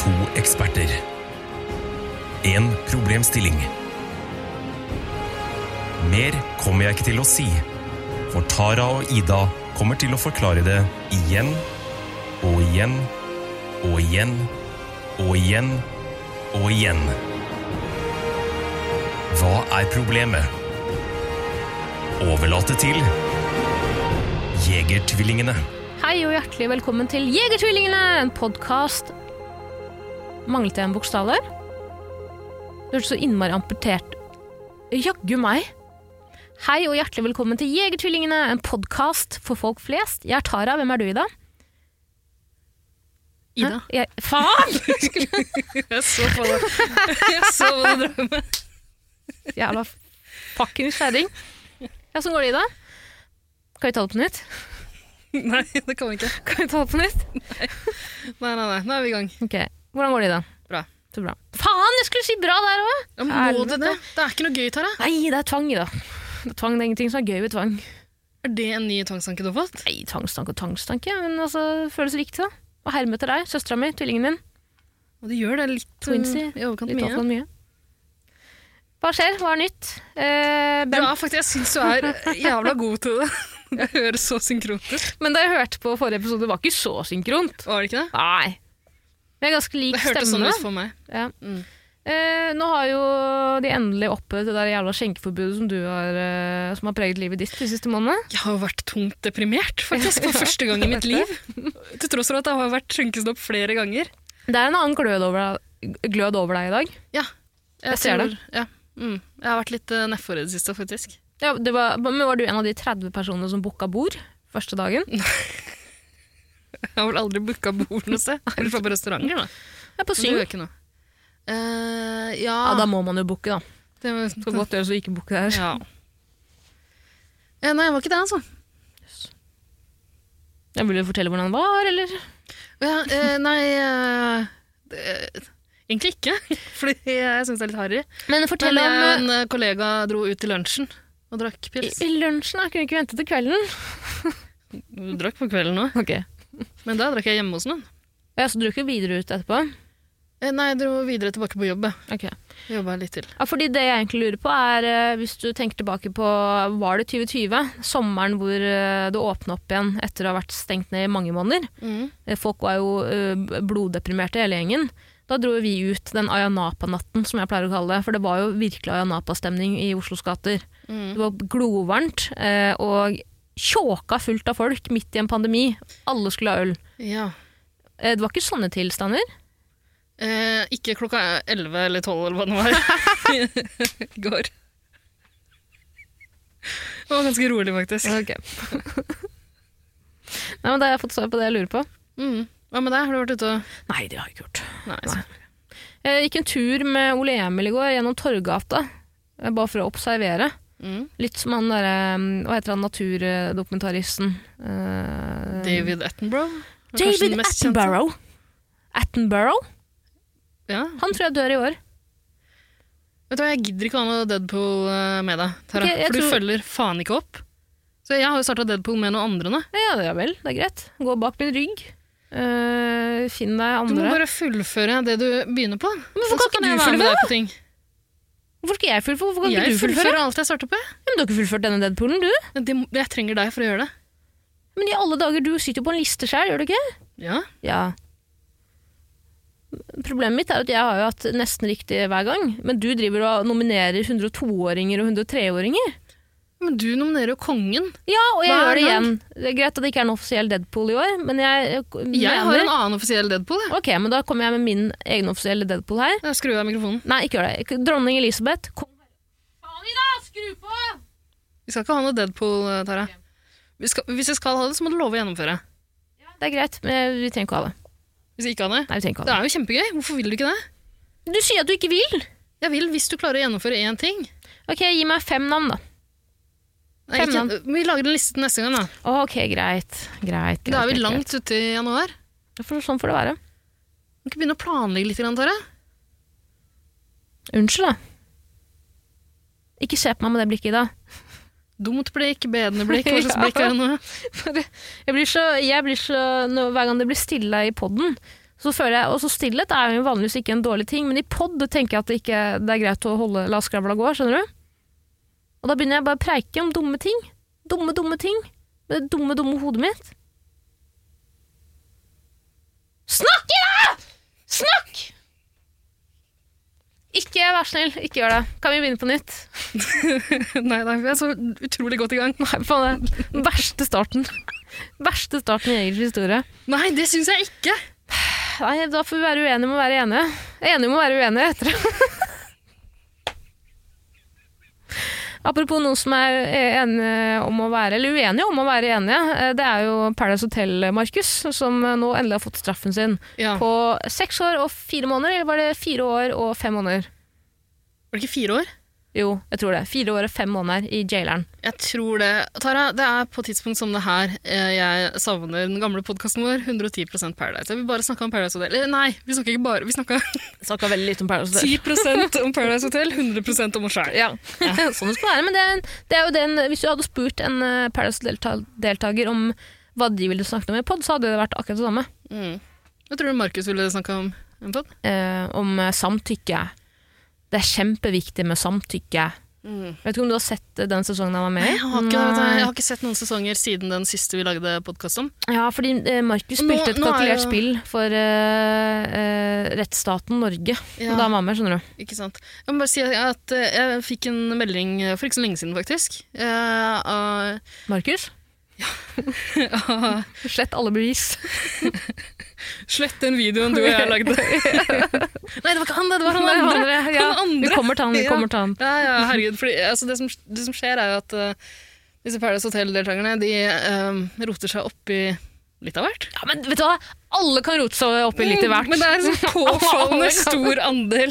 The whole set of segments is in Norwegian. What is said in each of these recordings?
To eksperter. En problemstilling. Mer kommer jeg ikke til å si, for Tara og Ida kommer til å forklare det igjen og igjen og igjen og igjen og igjen. Hva er problemet? Overlate til Jegertvillingene. Hei og hjertelig velkommen til Jegertvillingene, en podkast Manglet jeg en bokstav der? Det hørtes så innmari amputert Jaggu meg! Hei og hjertelig velkommen til Jegertvillingene, en podkast for folk flest. Jeg er Tara, hvem er du, Ida? Hæ? Ida. Jeg, faen! Jeg så på det. Jeg så på det drømmen. Jævla fuckings kjerring. Ja, sånn går det, Ida. Kan vi ta det på nytt? Nei, det kan vi ikke. Kan vi ta det på nytt? Nei, nei, nei, nå er vi i gang. Ok, Hvordan går det, Ida? Bra. Så bra. Faen, jeg skulle si bra der òg! Ja, men må Helvete. det det? Det er ikke noe gøy, Tara. Nei, det er tvang, Ida. Det er tvang, det er ingenting som er gøy ved tvang. Er det en ny tvangstanke du har fått? Nei, tvangstanke og tvangstanke, men altså, det føles riktig, da. Hva hermer etter deg, søstera mi, tvillingen din? Og det gjør det litt um, Twinsie. i overkant Litt mye. avstand mye. Hva skjer? Hva er nytt? Eh, Du ben, er faktisk, jeg syns du er jævla god til det. Det høres så synkront ut. Men det jeg hørte på forrige episode, var ikke så synkront. Var det ikke det? Nei. Vi er ganske lik Det hørtes sånn stemme. ut for meg. ja. Mm. eh, nå har jo de endelig opphevet det der jævla skjenkeforbudet som, du har, eh, som har preget livet ditt de siste månedene. Jeg har jo vært tungt deprimert, faktisk, for første gang i mitt liv. Til tross for at det har vært skjenkestopp flere ganger. Det er en annen glød over deg, glød over deg i dag. Ja. Jeg ser tror- Ja. Mm. Jeg har vært litt uh, nedfor i det siste, faktisk. Ja, det var, men var du en av de 30 personene som booka bord første dagen? Jeg har vel aldri booka bord noe sted. I hvert fall på restauranter, da. Ja, på Men det syv. gjør ikke noe. Eh, ja, Ja, da må man jo booke, da. det var, sånn- Skal godt gjøres å ikke booke der. ja. Eh, Nei, det var ikke det, altså. Jeg vil jo fortelle hvordan det var, eller? Ja, eh, nei eh, det, Egentlig ikke, fordi jeg syns det er litt harry. Men Men fortell jeg og om eh, en eh, kollega dro ut til lunsjen og drakk i, pils. i lunsjen, da. Kunne vi ikke vente til kvelden? Vi Drakk på kvelden òg, Ok. men da drakk jeg hjemme hos noen. Ja, Så du dro ikke videre ut etterpå? Eh, Nei, jeg dro videre tilbake på jobb. jeg. Ok. Jobba litt til. Ja, fordi det jeg egentlig lurer på, er eh, hvis du tenker tilbake på Var det 2020? Sommeren hvor eh, det åpna opp igjen etter å ha vært stengt ned i mange måneder. Mm. Eh, Folk var jo eh, bloddeprimerte, hele gjengen. Da dro vi ut den Ayanapa-natten, som jeg pleier å kalle det. For det var jo virkelig Ayanapa-stemning i Oslos gater. Mm. Det var glovarmt eh, og tjåka fullt av folk midt i en pandemi. Alle skulle ha øl. Ja. Eh, Det var ikke sånne tilstander. Eh, ikke klokka elleve eller tolv eller hva det var i går. Det var ganske rolig, faktisk. Nei, men Da har jeg fått svar på det jeg lurer på. Mm. Hva med deg? Har du vært ute og Nei, det har jeg ikke gjort. Nei. Nei. Jeg Eh, gikk en tur med Ole Emil i går gjennom Torggata, eh, bare for å observere. Mm. Litt som han derre mm, Hva heter han naturdokumentaristen? Eh, David Attenborough? er kanskje David den mest kjente. Attenborough. Attenborough? Ja. Han tror jeg dør i år. Vet du hva, Jeg gidder ikke å ha noe Deadpool eh, med deg, Tara. Ok, jeg for du tror- følger faen ikke opp. Så jeg har jo starta Deadpool med noen andre nå. Ja, ja vel, det er greit. Gå bak min rygg. Eh, finn deg Du må andre. bare fullføre det du begynner på. Men Så hvorfor kan kan ikke jeg du være med fullføre? deg på ting. Hvorfor skal jeg fullføre? Hvorfor kan ikke du Jeg fullføre? fullfører alt jeg starter på. jeg. Ja, Men du har ikke fullført denne Deadpoolen, du. Men det- Jeg trenger deg for å gjøre det. Men i alle dager, du sitter jo på en liste sjøl, gjør du ikke? Ja. Ja. Problemet mitt er jo at jeg har jo hatt nesten riktig hver gang, men du driver og nominerer 102-åringer og 103-åringer. Men du nominerer jo kongen. Ja, og jeg Hver gjør det gang. igjen. Det er greit at det ikke er en offisiell Deadpool i år, men jeg eh, k- mener Jeg har en annen offisiell Deadpool. Jeg. Ok, men da kommer jeg med min egen offisielle Deadpool her. Jeg skrur av mikrofonen. Nei, ikke gjør det. Ikke- Dronning Elisabeth, kom Faen i dag, skru på! Vi skal ikke ha noe Deadpool, eh, Tara. Vi skal, hvis jeg skal ha det, så må du love å gjennomføre. Det er greit, men vi trenger ikke ha det. Hvis jeg ikke har det Nei, vi trenger ikke Det ha det. er jo kjempegøy. Hvorfor vil du ikke det? Du sier at du ikke vil! Jeg vil hvis du klarer å gjennomføre én ting. Ok, gi meg fem navn, da. Nei, Fem ikke, eh, vi lager en liste til neste gang, da. Ok, greit. Greit. greit Da er vi greit, langt ute i januar. greit. For, sånn får det være. Du kan ikke begynne å planlegge litt, grann, Tara. Unnskyld, da. Ikke se på meg med det blikket, Ida. Dumt blikk, bedende blikk, hva slags blikk er det nå? For jeg blir så, jeg blir så når, Hver gang det blir stille i poden, Så føler jeg, og så stillhet er jo vanligvis ikke en dårlig ting, men i pod tenker jeg at det ikke det er greit å holde la skravla gå, skjønner du? Og da begynner jeg bare å preike om dumme ting. Dumme, dumme ting. Med det dumme, dumme hodet mitt. Snakk i dag! Snakk! Ikke vær snill, ikke gjør det. Kan vi begynne på nytt? Nei, nei, vi er så utrolig godt i gang. Nei, faen, det er den verste starten. Verste starten i Jegers historie. Nei, det syns jeg ikke! Nei, da får vi være uenige om å være enige. Enige om å være uenige etter det. Apropos noen som er enige om å være, eller uenige om å være enige, eh, det er jo Paradise Hotel, Markus, som nå endelig har fått straffen sin. Ja. På seks år og fire måneder, eller var det fire år og fem måneder? Var det ikke fire år? Jo, jeg tror det. Fire år og fem måneder i jaileren. Jeg tror det. Tara, det er på et tidspunkt som det her eh, jeg savner den gamle podkasten vår, 110 Paradise. Jeg vil bare snakke om Paradise Hotel. Eller nei, vi snakka ikke bare Vi snakka Snakka veldig litt om Paradise 10 om Paradise Hotel, 100 om oss sjæl. Ja. sånn det skal være. Men det er, en- det er jo den, hvis du hadde spurt en eh, Paradise-deltaker om hva de ville snakke om i pod, så hadde det vært akkurat det samme. Mm. Jeg tror Markus ville snakka om en pod. Eh, om eh, samtykke. Det er kjempeviktig med samtykke. Vet ikke om du har sett eh, den sesongen han var med i? Jeg har, ikke, vet du, jeg har ikke sett noen sesonger siden den siste vi lagde podkast om. Ja, fordi eh, Markus Nå- spilte et nå er kalkulert jo- spill for eh, eh, rettsstaten Norge. Ja. Da han var med, skjønner du. Ikke sant? Jeg må bare si at eh, jeg fikk en melding for ikke så lenge siden, faktisk. eh, av- Markus, av- slett alle bevis. Slett den videoen du og jeg lagde. Nei, det var ikke han, det, det var han Nei, han andre. andre, ja. Han andre. Vi kommer til han, vi Ja. kommer til han. Ja, ja, herregud. Fordi, altså, det, som, det som skjer, er jo at eh, disse Paradise Hotel-deltakerne de eh, roter seg opp i litt av hvert. Ja, men vet du hva? Alle kan rote seg opp i litt i hvert. Men det er en sånn Alle påfallende kan- stor andel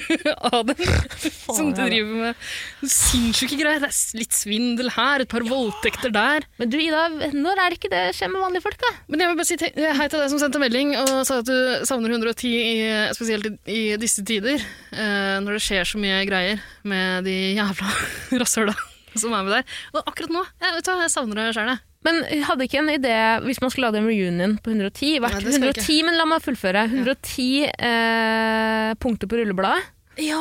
av dem som Faen, ja. driver med sinnssyke greier. Det er litt svindel her, et par voldtekter der. Men du Ida, når er det ikke det skjer med vanlige folk da? Men jeg vil bare si te- hei til deg som sendte melding og sa at du savner 110, i, spesielt i, i disse tider, eh, når det skjer så mye greier med de jævla rasshøla som er med der. Og akkurat nå, jeg, vet du, hva, jeg savner det sjøl, jeg. Men hadde ikke en idé, hvis man skulle lage en reunion på 110, vært Nei, det skal jeg 110, men la meg fullføre, 110 eh, punkter på rullebladet. Ja.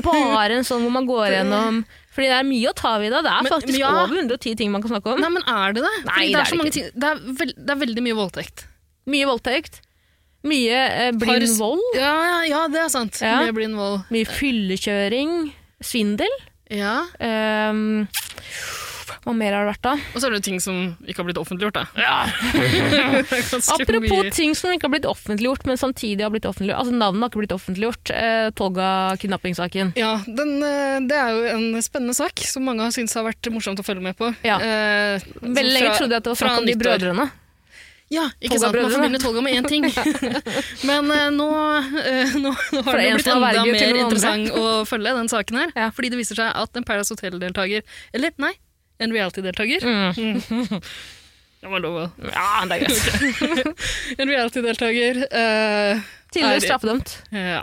Bare en sånn hvor man går gjennom, fordi det er mye å ta videre, det er Men- faktisk ja. over 110 ting man kan snakke om. Nei, men er det det? Fordi Nei, det det er, er så det mange ikke. ting. Det er, vel- det er veldig mye voldtekt. Mye voldtekt, mye eh, blind Pars- vold, Ja, ja, ja, det er sant. Ja. Mye blind vold. mye fyllekjøring, svindel. Ja. ehm, hva mer har det vært da? Og så er det ting som ikke har blitt offentliggjort, da. Det er ganske Apropos mye. ting som ikke har blitt offentliggjort, men samtidig har blitt offentliggjort. Altså Navnet har ikke blitt offentliggjort. Eh, Toga-kidnappingssaken. Ja, den, eh, det er jo en spennende sak som mange har syntes har vært morsomt å følge med på. Ja. Eh, Veldig lenge fra- trodde jeg at det var fra snakk om de nyttår. brødrene. Ja, ikke sant? Man Tolga-brødrene. forbinder Tolga med én ting. Men eh, nå, eh, nå, nå har Fra det en jo blitt som er verge enda til mer noen andre. interessant å følge den saken her. Ja. Fordi det viser seg at en Paradise Hotel-deltaker, eller nei, en reality-deltaker Mm. Det var lov å Ja, det er greit. En reality-deltaker eh, Tidligere Er- straffedømt. Ja.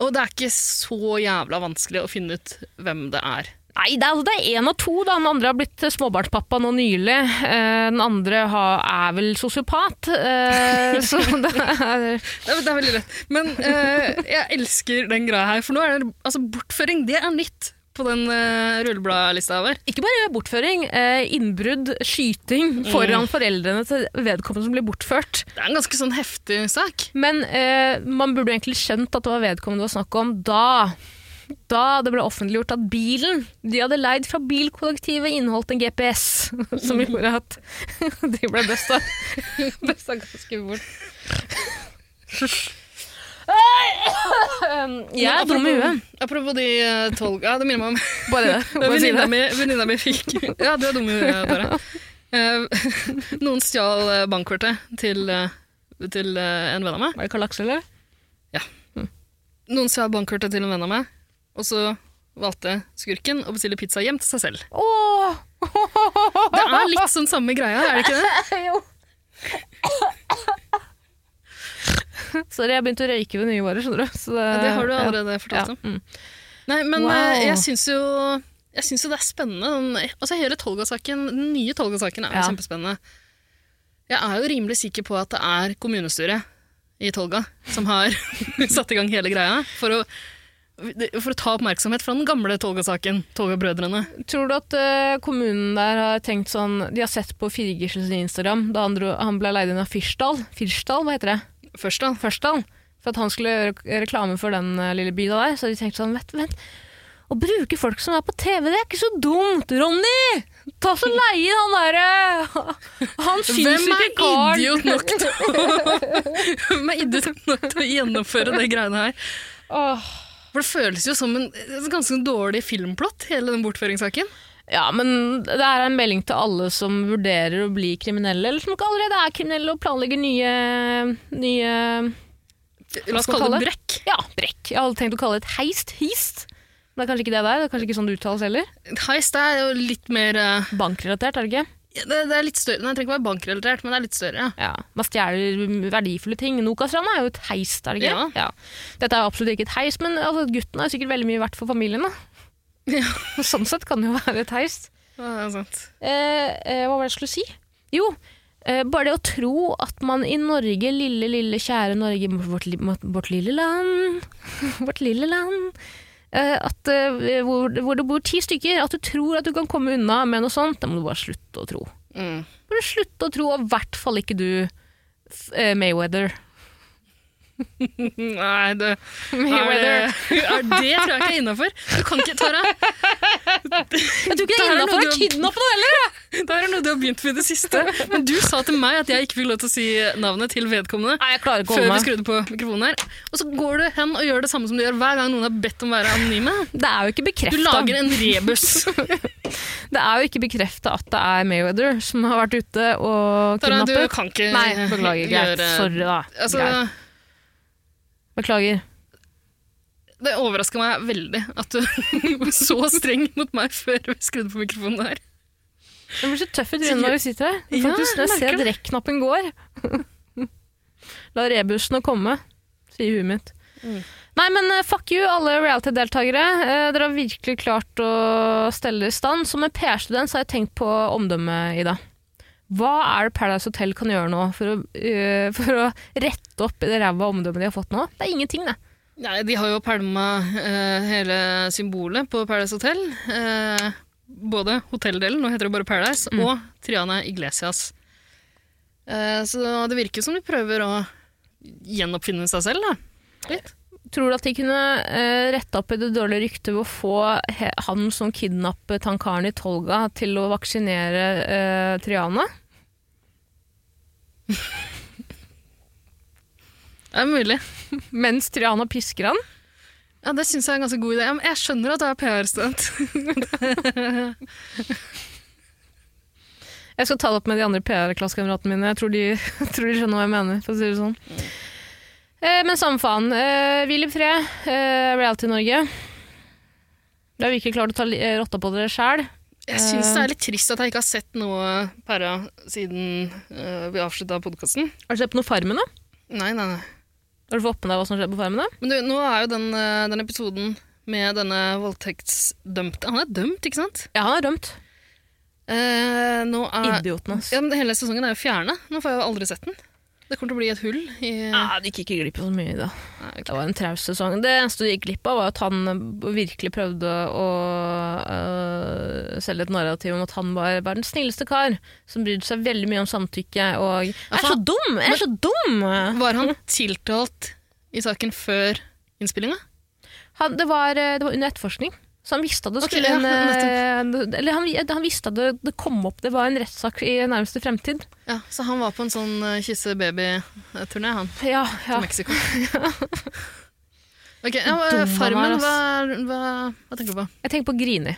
Og det er ikke så jævla vanskelig å finne ut hvem det er. Nei, det er, altså, det er en av to. Da. Den andre har blitt eh, småbarnspappa nå nylig. Eh, den andre har, er vel sosiopat. Eh, så det er Det er, det er veldig lett. Men eh, jeg elsker den greia her, for nå er det altså, bortføring. Det er nytt på den uh, rullebladlista vår. Ikke bare bortføring. Eh, innbrudd, skyting foran foreldrene til vedkommende som blir bortført. Det er en ganske sånn heftig sak. Men eh, man burde jo egentlig skjønt at det var vedkommende det var snakk om da. Da det ble offentliggjort at bilen de hadde leid fra bilkollektivet, inneholdt en GPS. Som gjorde at de ble busta. busta ganske fort. Jeg er dum i huet. Apropos de uh, tolv Ja, det minner meg om Bare det. Det er Bare si venninna det. mi, venninna mi fikk Ja, du er dum i huet, Tara. Eh, noen stjal eh, bankkortet til, eh, til eh, en venn av meg. Var det Karl Aksel, eller? Noen stjal bankkortet til en venn av meg, og så valgte skurken å bestille pizza hjem til seg selv. Åh! Det er litt sånn samme greia, er det ikke det? Jo. Sorry, jeg begynte å røyke ved nye varer, skjønner du. Så det, Ja, det har du allerede fortalt om. Ja. Mm. Nei, men Wow. eh, jeg syns jo jeg synes jo det er spennende. Den, altså hele Tolga-saken, Den nye Tolga-saken er jo Ja. kjempespennende. Jeg er jo rimelig sikker på at det er kommunestyret i Tolga som har satt i gang hele greia for å, for å ta oppmerksomhet fra den gamle Tolga-saken. Tolga-brødrene. Tror du at eh, kommunen der har tenkt sånn De har sett på Firgersen sin Instagram da han, dro, han ble leid inn av Fyrsdal. Fyrsdal, hva heter det? Først, da. Fyrsdal. For at han skulle gjøre reklame for den eh, lille byen der. Så de tenkte sånn Vent, vent. Å bruke folk som er på TV, det er ikke så dumt, Ronny! Ta så leie inn han derre Han syns Hvem ikke er karen. idiot nok til å Hvem er idiot nok til å gjennomføre det greiene her? Åh. For det føles jo som en en ganske dårlig filmplott, hele den bortføringssaken. Ja, men det er en melding til alle som vurderer å bli kriminelle, eller som ikke allerede er kriminelle og planlegger nye, nye La oss skal vi kalle kalle det det? brekk. Ja, brekk. Jeg hadde tenkt å kalle det et heist. Hist. Men det er kanskje ikke det der. Det er kanskje ikke sånn det uttales heller. Heist er jo litt mer eh, Bankrelatert, er det ikke? det, det er litt større. Nei, det trenger ikke være bankrelatert, men det er litt større. Ja. Ja. Man stjeler verdifulle ting. Nokastranda er jo et heist, er det ikke? Ja. Dette er jo absolutt ikke et heist, men altså, gutten er sikkert veldig mye verdt for familien. Da. Sånn sett kan det jo være et heist. Ja, det er sant. Eh, eh, hva var det jeg skulle si? Jo, eh, bare det å tro at man i Norge, lille, lille, kjære Norge, vårt, li- vårt lille land, vårt lille land, eh, at, eh, hvor, hvor det bor ti stykker, at du tror at du kan komme unna med noe sånt, det må du bare slutte å tro. Mm. Bare slutte å tro, og i hvert fall ikke du, f- eh, Mayweather. Nei, det Mayweather. Er det, er det tror jeg ikke er innafor. Du kan ikke, Tara. Jeg tror ikke det Det er er noe innafor å du- kidnappe noen heller! Det her er noe du har begynt med i det siste. Men du sa til meg at jeg ikke fikk lov til å si navnet til vedkommende. Nei, jeg klarer ikke å Før holde vi meg. skrudde på mikrofonen her. Og så går du hen og gjør det samme som du gjør hver gang noen har bedt om å være anonyme. Det er jo ikke Du bekrefta. lager en rebus. Det er jo ikke bekrefta at det er Mayweather som har vært ute og Tara, du kidnappet. kan ikke Nei, beklager. Greit. Eh, gjøre- Sorry, da. Altså, greit. Beklager. det overrasker meg veldig at du var så streng mot meg før vi skrudde på mikrofonen her. Du blir så tøff i trynet når du sitter her. Ja, Faktisk, jeg jeg ser merker at rekknappen går. La rebusene komme, sier huet mitt. Mm. Nei, men eh, fuck you, alle reality-deltakere. Eh, Dere har virkelig klart å stelle i stand. Som en PR-student så har jeg tenkt på omdømmet, Ida. Hva er det Paradise Hotel kan gjøre nå for å, eh, for å rette opp det ræva omdømmet de har fått nå? Det er ingenting, det. Nei, de har jo pælma eh, hele symbolet på Paradise Hotel. Eh, både hotelldelen, nå heter det bare Paradise, og Triana Iglesias. Eh, så det virker som de prøver å gjenoppfinne seg selv, da. Litt. Tror du at de kunne uh, retta opp i det dårlige ryktet ved å få he han som kidnappet han karen i Tolga, til å vaksinere eh, Triana? Det er mulig. Mens Triana pisker han? Ja, Det syns jeg er en ganske god idé. Ja, men jeg skjønner at du er PR-student. Jeg skal ta det opp med de andre PR-klassekameratene mine. Jeg tror de, jeg tror de skjønner hva jeg mener, for å si det sånn. Eh, men samme faen. Eh, hvil i fred, eh, Reality-Norge. Dere har virkelig klart å ta li- eh, rotta på dere sjæl. Jeg syns det er litt trist at jeg ikke har sett noe Para siden eh, vi avslutta podkasten. Har du sett på noe Farmen, da? Nei, nei, nei. Har du fått med deg hva som skjer på Farmen? da? Men du, nå er jo den, eh, den episoden med denne voldtektsdømte Han er dømt, ikke sant? Ja, han er rømt. Eh, nå er Idioten, ass. ja, men Hele sesongen er jo fjerna. Nå får jeg jo aldri sett den. Det kommer til å bli et hull i Ja, du gikk ikke glipp av så mye, da. Nei, ok. Det var en traus sesong. Det eneste du gikk glipp av, var at han eh, virkelig prøvde å eh, selge et narrativ om at han var verdens snilleste kar, som brydde seg veldig mye om samtykke og Jeg er så faen. dum! Jeg er så dum! Var han tiltalt i saken før innspillinga? Han, det, var, eh, det var under etterforskning. Så han visste at det Ok, skulle ja, en, eh, Eller han, han visste at det, det kom opp, det var en rettssak i nærmeste fremtid. Ja, så han var på en sånn eh, kysse baby-turné, han, Ja, til ja. Mexico. Ok, ja, eh, Dum han Farmen, er, hva, ass. hva, hva tenker du på? Jeg tenker på Grini.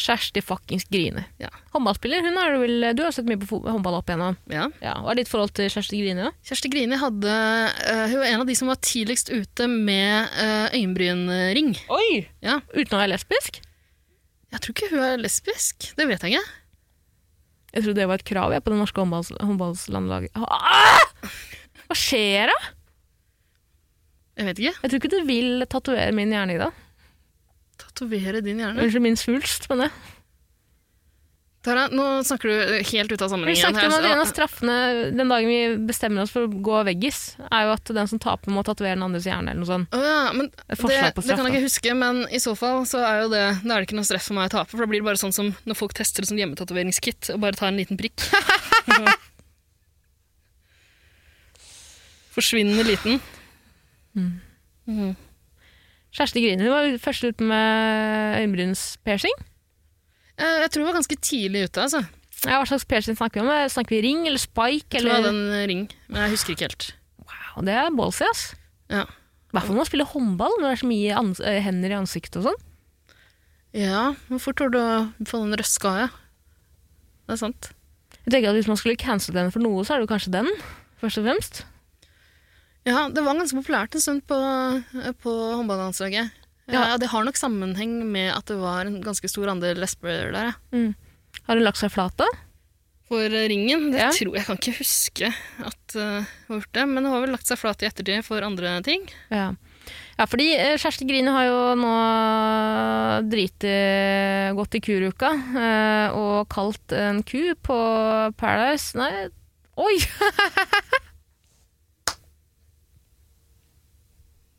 Kjersti fuckings Grini. Ja. Håndballspiller. Hun er vel, du har sett mye på fo- håndball opp igjennom. Ja. Ja, hva er ditt forhold til Kjersti Grini? da? Kjersti Grini hadde, eh, hun var en av de som var tidligst ute med eh, øyenbrynring. Oi! Ja. Uten å være lesbisk? Jeg tror ikke hun er lesbisk. Det vet jeg ikke. Jeg trodde det var et krav jeg, på det norske håndballs håndballslandlaget. Ah! Hva skjer da? Jeg vet ikke. Jeg tror ikke du vil tatovere min hjerne i dag. Tatovere din hjerne. Unnskyld min svulst, men det. Tara, nå snakker du helt ut av Vi sammenhengen. snakket om at her, En av så- straffene den dagen vi bestemmer oss for å gå veggis, er jo at den som taper, må tatovere den andres hjerne. eller noe sånt. Å ja, men det, Et forslag på det kan straff, jeg ikke huske, men i så fall så er jo det, da er det ikke noe stress for meg å tape. For da blir det bare sånn som når folk tester det som hjemmetatoveringskit og bare tar en liten prikk. Forsvinnende liten. Mhm. Kjersti Grine hun var først ut med øyenbrynspiercing. Eh, Jeg tror jeg var ganske tidlig ute, altså. Ja, hva slags piercing snakker vi om? Snakker vi ring eller spike? Jeg tror jeg Eller? hadde en ring, men jeg husker ikke helt. Wow, det er ballsy, ass. Ja. I hvert fall når man spiller håndball, når det er så mye ans eh, hender i ansiktet og sånn. ja, hvor fort tror du å få den røska av? Ja. Det er sant. Jeg tenker at Hvis man skulle cancele den for noe, så er det jo kanskje den. først og fremst. Ja, det var ganske populært en stund på, på håndballandslaget. Ja. Ja. det har nok sammenheng med at det var en ganske stor andel lesber der. ja. Har hun lagt seg flat da? For eh, ringen, det Ja. tror jeg kan ikke huske at eh, hun har gjort det, men hun har vel lagt seg flat i ettertid for andre ting. Ja. ja, fordi eh, Kjersti Grine har jo nå driti godt i kuruka eh, og kalt en ku på Paradise Nei, oi!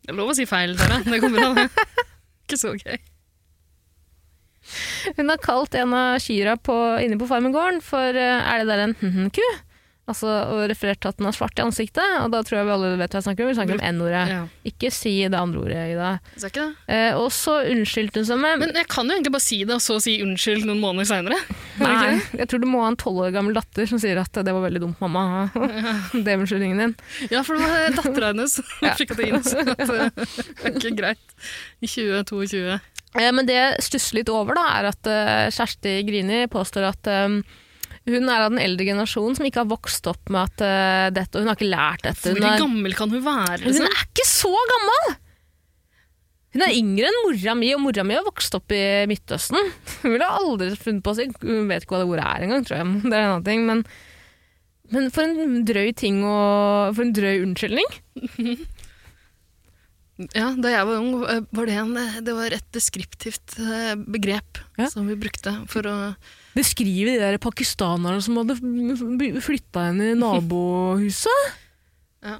Det er lov å si feil, dere. Det går bra, det. Ikke så gøy. Hun har kalt en av kyrne på- inne på farmegården for eh, er det der en hm-hm-ku? Altså, og referert til at den er svart i ansiktet, og da tror jeg vi alle vet hva jeg snakker om. Vi snakker om N-ordet. Ja. Ikke si det andre ordet, Ida. Så er ikke det. Eh, og så unnskyldte hun seg med Men jeg kan jo egentlig bare si det, og så si unnskyld noen måneder seinere. Nei, jeg tror du må ha en tolv år gammel datter som sier at det var veldig dumt, mamma. det er unnskyldningen din. Ja, for det var dattera hennes som Ja. fikk det inn. Så at, eh, det er ikke greit. I 2022. Eh, men det jeg stusser litt over, da, er at eh, Kjersti Grini påstår at eh, hun er av den eldre generasjonen som ikke har vokst opp med at eh, dette, og hun har ikke lært dette. Hvor Hun er, gammel kan hun være? hun Liksom? er ikke så gammel! Hun er yngre enn mora mi, og mora mi har vokst opp i Midtøsten. Hun ville aldri funnet på å si Hun vet ikke hva det ordet er engang, tror jeg. Det er en annen ting, men, men for en drøy ting og For en drøy unnskyldning. Ja, da jeg var ung, eh, var det, en, eh, det var et deskriptivt eh, begrep Ja. som vi brukte for å Beskrive de der pakistanerne som hadde flytta henne i nabohuset. ja.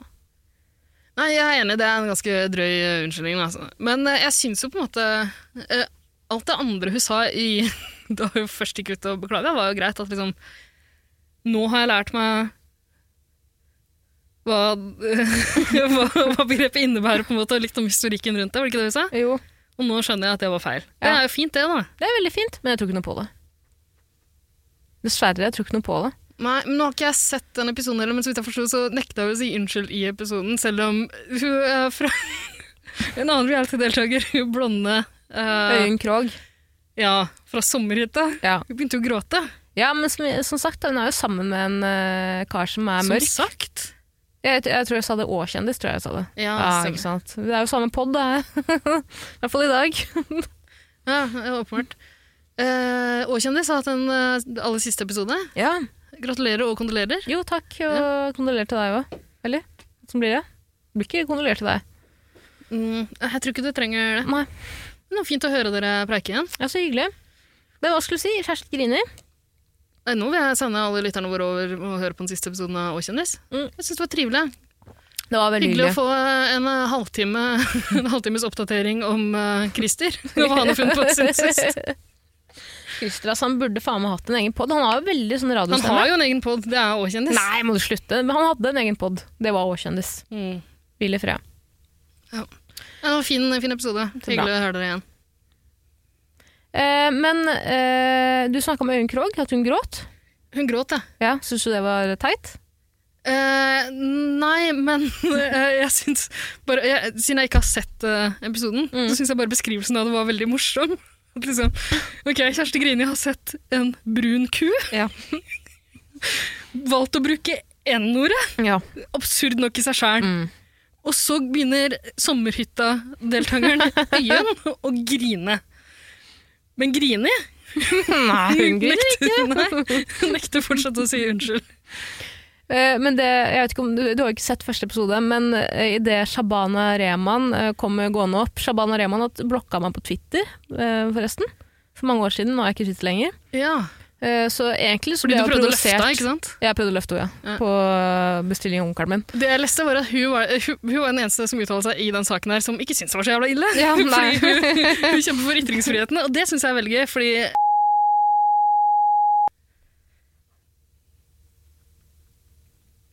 Nei, jeg er enig, det er en ganske drøy eh, unnskyldning. Altså. Men eh, jeg syns jo på en måte eh, Alt det andre hun sa i, da hun først gikk ut og beklaga, var jo greit. At liksom Nå har jeg lært meg hva, hva, hva begrepet innebærer, på en måte, og litt om historikken rundt det. var det ikke det hun sa? Jo. Og nå skjønner jeg at det var feil. Det Ja. er jo fint, det, da. Det er veldig fint, men jeg tror ikke noe på det. Dessverre, jeg tror ikke noe på det. Nei, men nå har ikke jeg sett den episoden heller, men så vidt jeg forstod, så nekta hun å si unnskyld i episoden, selv om hun er fra en annen reality-deltaker, hun blonde eh, Øyunn Krogh. ja, fra sommerhytta. Ja. Hun begynte jo å gråte. ja, men som, som sagt, da, hun er jo sammen med en eh, kar som er Som mørk. sagt. Jeg, jeg tror jeg sa det Å-kjendis, tror jeg jeg sa det. Ah, Ja, stemmer. ikke sant? Det er jo samme pod, det. I hvert fall i dag. Ja, det er åpenbart. Uh, Åkjendis har hatt en eh, aller siste episode. Ja. Gratulerer og kondolerer. Jo, takk, og kondolerer til deg òg. Eller? Hvordan blir det? Det blir ikke kondolerer til deg. Mm, jeg tror ikke du trenger det. Nei. Men det var fint å høre dere preike igjen. Ja, så hyggelig. Men hva skulle jeg si? Kjersti griner. Nei, Eh, Nå vil jeg sende alle lytterne våre over og høre på den siste episoden av Åkjendis. Mm. Jeg syns det var trivelig. Det var veldig Hyggelig hyggelig. å få en eh, halvtime, en halvtimes oppdatering om eh, Christer. og Hva han har funnet på siden sist. Christer, altså, han burde faen meg hatt en egen pod. Han har jo veldig sånn Han radiostemme. har jo en egen pod, det er òg kjendis. Nei, må du slutte. Men han hadde en egen pod. Det var Åkjendis. Mm. Hvil i fred. Ja, det var fin, fin episode. Hyggelig å høre dere igjen. Eh, men eh, du snakka om Øyunn Krogh, at hun gråt. Hun gråt, jeg. Ja, Syns du det var teit? Eh, nei, men eh, jeg syns bare, jeg, Siden jeg ikke har sett eh, episoden, Mm. så syns jeg bare beskrivelsen av det var veldig morsom. At liksom, ok, Kjersti Grini har sett en brun ku. Ja. Valgt å bruke N-ordet. Ja. Absurd nok i seg sjæl. Mm. Og så begynner sommerhytta-deltakeren Øyen å grine. Men grine? Nei, hun griner. Nei, hun nekter fortsatt å si unnskyld. Eh, Men det, jeg vet ikke om, du, du har jo ikke sett første episode, men eh, i det Shabana Rehman eh, kom gående opp Shabana Rehman blokka meg på Twitter, eh, forresten. For mange år siden, nå er jeg ikke i Twitter lenger. Ja. Eh, Så egentlig så Fordi ble du jeg prøvde å løfte provosert. deg, ikke sant? Jeg prøvde å løfte henne, ja. Ja. På eh, bestilling av onkelen min. Det jeg leste var at hun var, hun, hun var den eneste som uttalte seg i den saken her, som ikke syntes det var så jævla ille. Ja, nei. Fordi hun, hun kjemper for ytringsfriheten, og det syns jeg er veldig gøy, fordi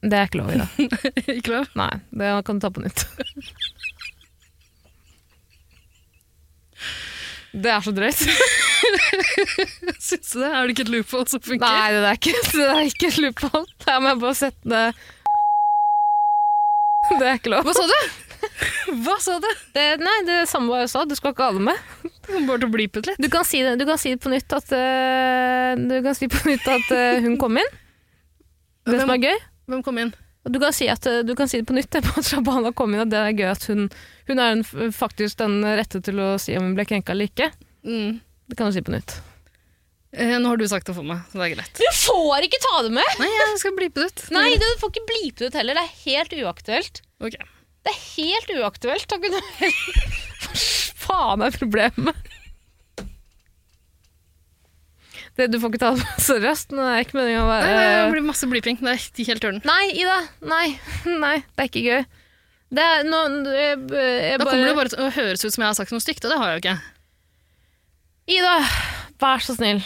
Det er ikke lov i dag. Ikke lov? Nei, det kan du ta på nytt. Det er så drøyt. Syns du det? Er det ikke et loophole som funker? Nei, det er ikke, det er ikke et loophole. Her må jeg bare sette det Det er ikke lov. Hva sa du? Hva sa du? Det, nei, det er samme hva jeg sa. Du skal ikke ha det med. Du kommer bare til å blipe ut litt. Du kan si det, du kan si det på nytt at, eh, du kan si på nytt at eh, hun kom inn. Det som er gøy. Hvem kom inn? Og Du kan, si at, eh, du kan si det på nytt, det, på at Shabana kom inn, og det er gøy at hun, hun er den, f- faktisk den rette til å si om hun ble krenka eller ikke. Mm. Det kan du si på nytt. Eh, nå har du sagt det for meg, så det er greit. Du får ikke ta det med! Nei, jeg skal blipe det ut. Nei, du får ikke blipe det ut heller. Det er helt uaktuelt. Ok. Det er helt uaktuelt. Da kunne Faen er problemet? Det, du får ikke ta det med seriøst. men Det er ikke meningen å Nei, være nei, det blir masse bliping. Det er helt ørnen. Nei, Ida. Nei. Nei, det er ikke gøy. Det er nå jeg, jeg Da kommer det bare til å høres ut som jeg har sagt noe stygt, og det har jeg jo ikke. Ida, vær så snill.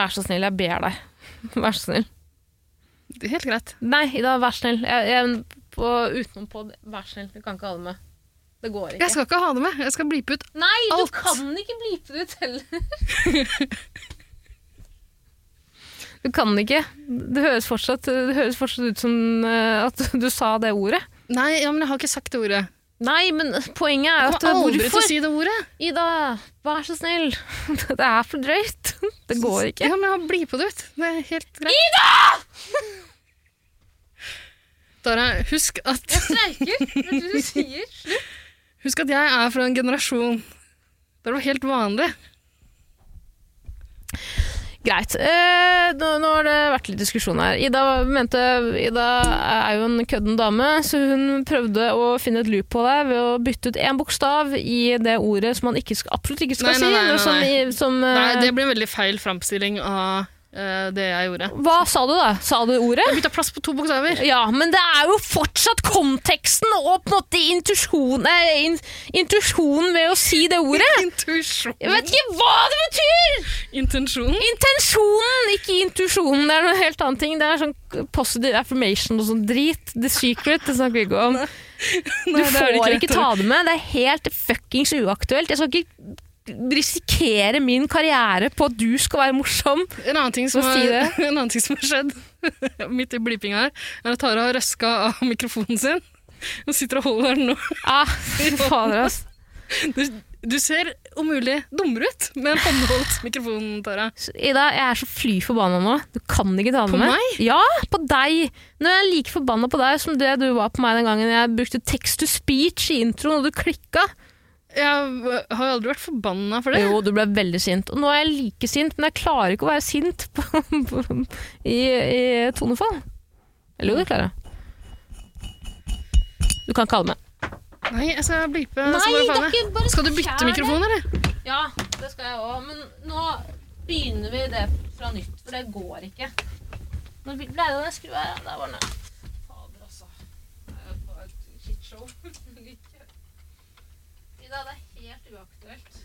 Vær så snill, jeg ber deg. Vær så snill. Det er helt greit. Nei, Ida, vær så snill. Jeg, jeg, på, utenom på Vær så snill, du kan ikke ha det med. Det går ikke. Jeg skal ikke ha det med. Jeg skal blipe ut. Nei, alt. du kan ikke blipe det ut heller. du kan ikke. Det høres fortsatt, det høres fortsatt ut som eh, at du sa det ordet. Nei, ja, men jeg har ikke sagt det ordet. Nei, men poenget er Jeg at kommer aldri til Hvorfor? å si det ordet. Ida, vær så snill. Det er for drøyt. Det går ikke. Ja, men jeg har blipa det ut. Det er helt greit. Ida! Tara, husk at, Streiker, vet du hva du sier? husk at jeg er fra en generasjon der det var helt vanlig. Greit. Eh, nå, nå har det vært litt diskusjon her. Ida, mente, Ida er jo en kødden dame, så hun prøvde å finne et loop på deg ved å bytte ut én bokstav i det ordet som man ikke skal, absolutt ikke skal Nei, nei, si. nei, nei, noe som nei. i- Som, Nei, eh, det ble en veldig feil framstilling av eh, det jeg gjorde. Hva sa du, da? Sa du ordet? Jeg bytta plass på to bokstaver. Ja, men det er jo fortsatt konteksten og på en måte intusjonen, eh, in, intusjonen ved å si det ordet. Intuisjon. Jeg vet ikke hva det betyr! Intensjonen. Intensjonen, ikke intusjonen. Det er noe helt annet ting. Det er sånn positive affirmation og sånn drit. The secret, det snakker vi ikke om. Du Nei, det er får det ikke, rett ta ord. det med. Det er helt fuckings uaktuelt. Jeg skal ikke risikere min karriere på at du skal være morsom. En annen ting som Hva sier har- en annen ting som har skjedd midt i blipinga her, er at Tara har røska av mikrofonen sin. Hun sitter og holder den nå. Ah, fy fader, ass. Du, du ser om mulig dummere ut med en håndholdt mikrofon, Tara. Ida, jeg er så fly forbanna nå. Du kan ikke ta det På med. meg? Ja, på deg. Nå er jeg like forbanna på deg som det du var på meg den gangen jeg brukte text to speech i introen, og du klikka. Jeg har jo aldri vært forbanna for det. Jo, du ble veldig sint. Og nå er jeg like sint, men jeg klarer ikke å være sint på, på, i, i tonefall. Eller jo, det klarer jeg. Du kan kalle meg. Nei, jeg skal blipe. så Nei, bare det faen er meg. ikke bare Skal du bytte skjær det. mikrofon, eller? Ja, det skal jeg òg. Men nå begynner vi det fra nytt, for det går ikke. Nå ble det den skrua her. Der var den. Fader, altså. Det er jo bare et shitshow. Ida, det er helt uaktuelt.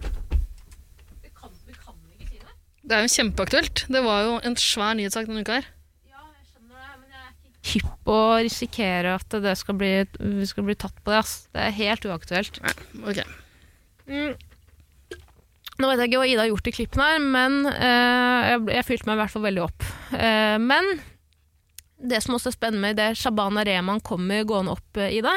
Vi kan, vi kan ikke si det. Det er jo kjempeaktuelt. Det var jo en svær nyhetssak denne uka her. Ja, jeg skjønner det, men jeg er ikke hypp å risikere at det skal bli, vi skal bli tatt på det. Ass. Det er helt uaktuelt. Ok. Mm. Nå vet jeg ikke hva Ida har gjort i klippen her, men eh, jeg, jeg fylte meg i hvert fall veldig opp. Eh, men det som også er spennende med det Shabana Rehman kommer gående opp, eh, Ida,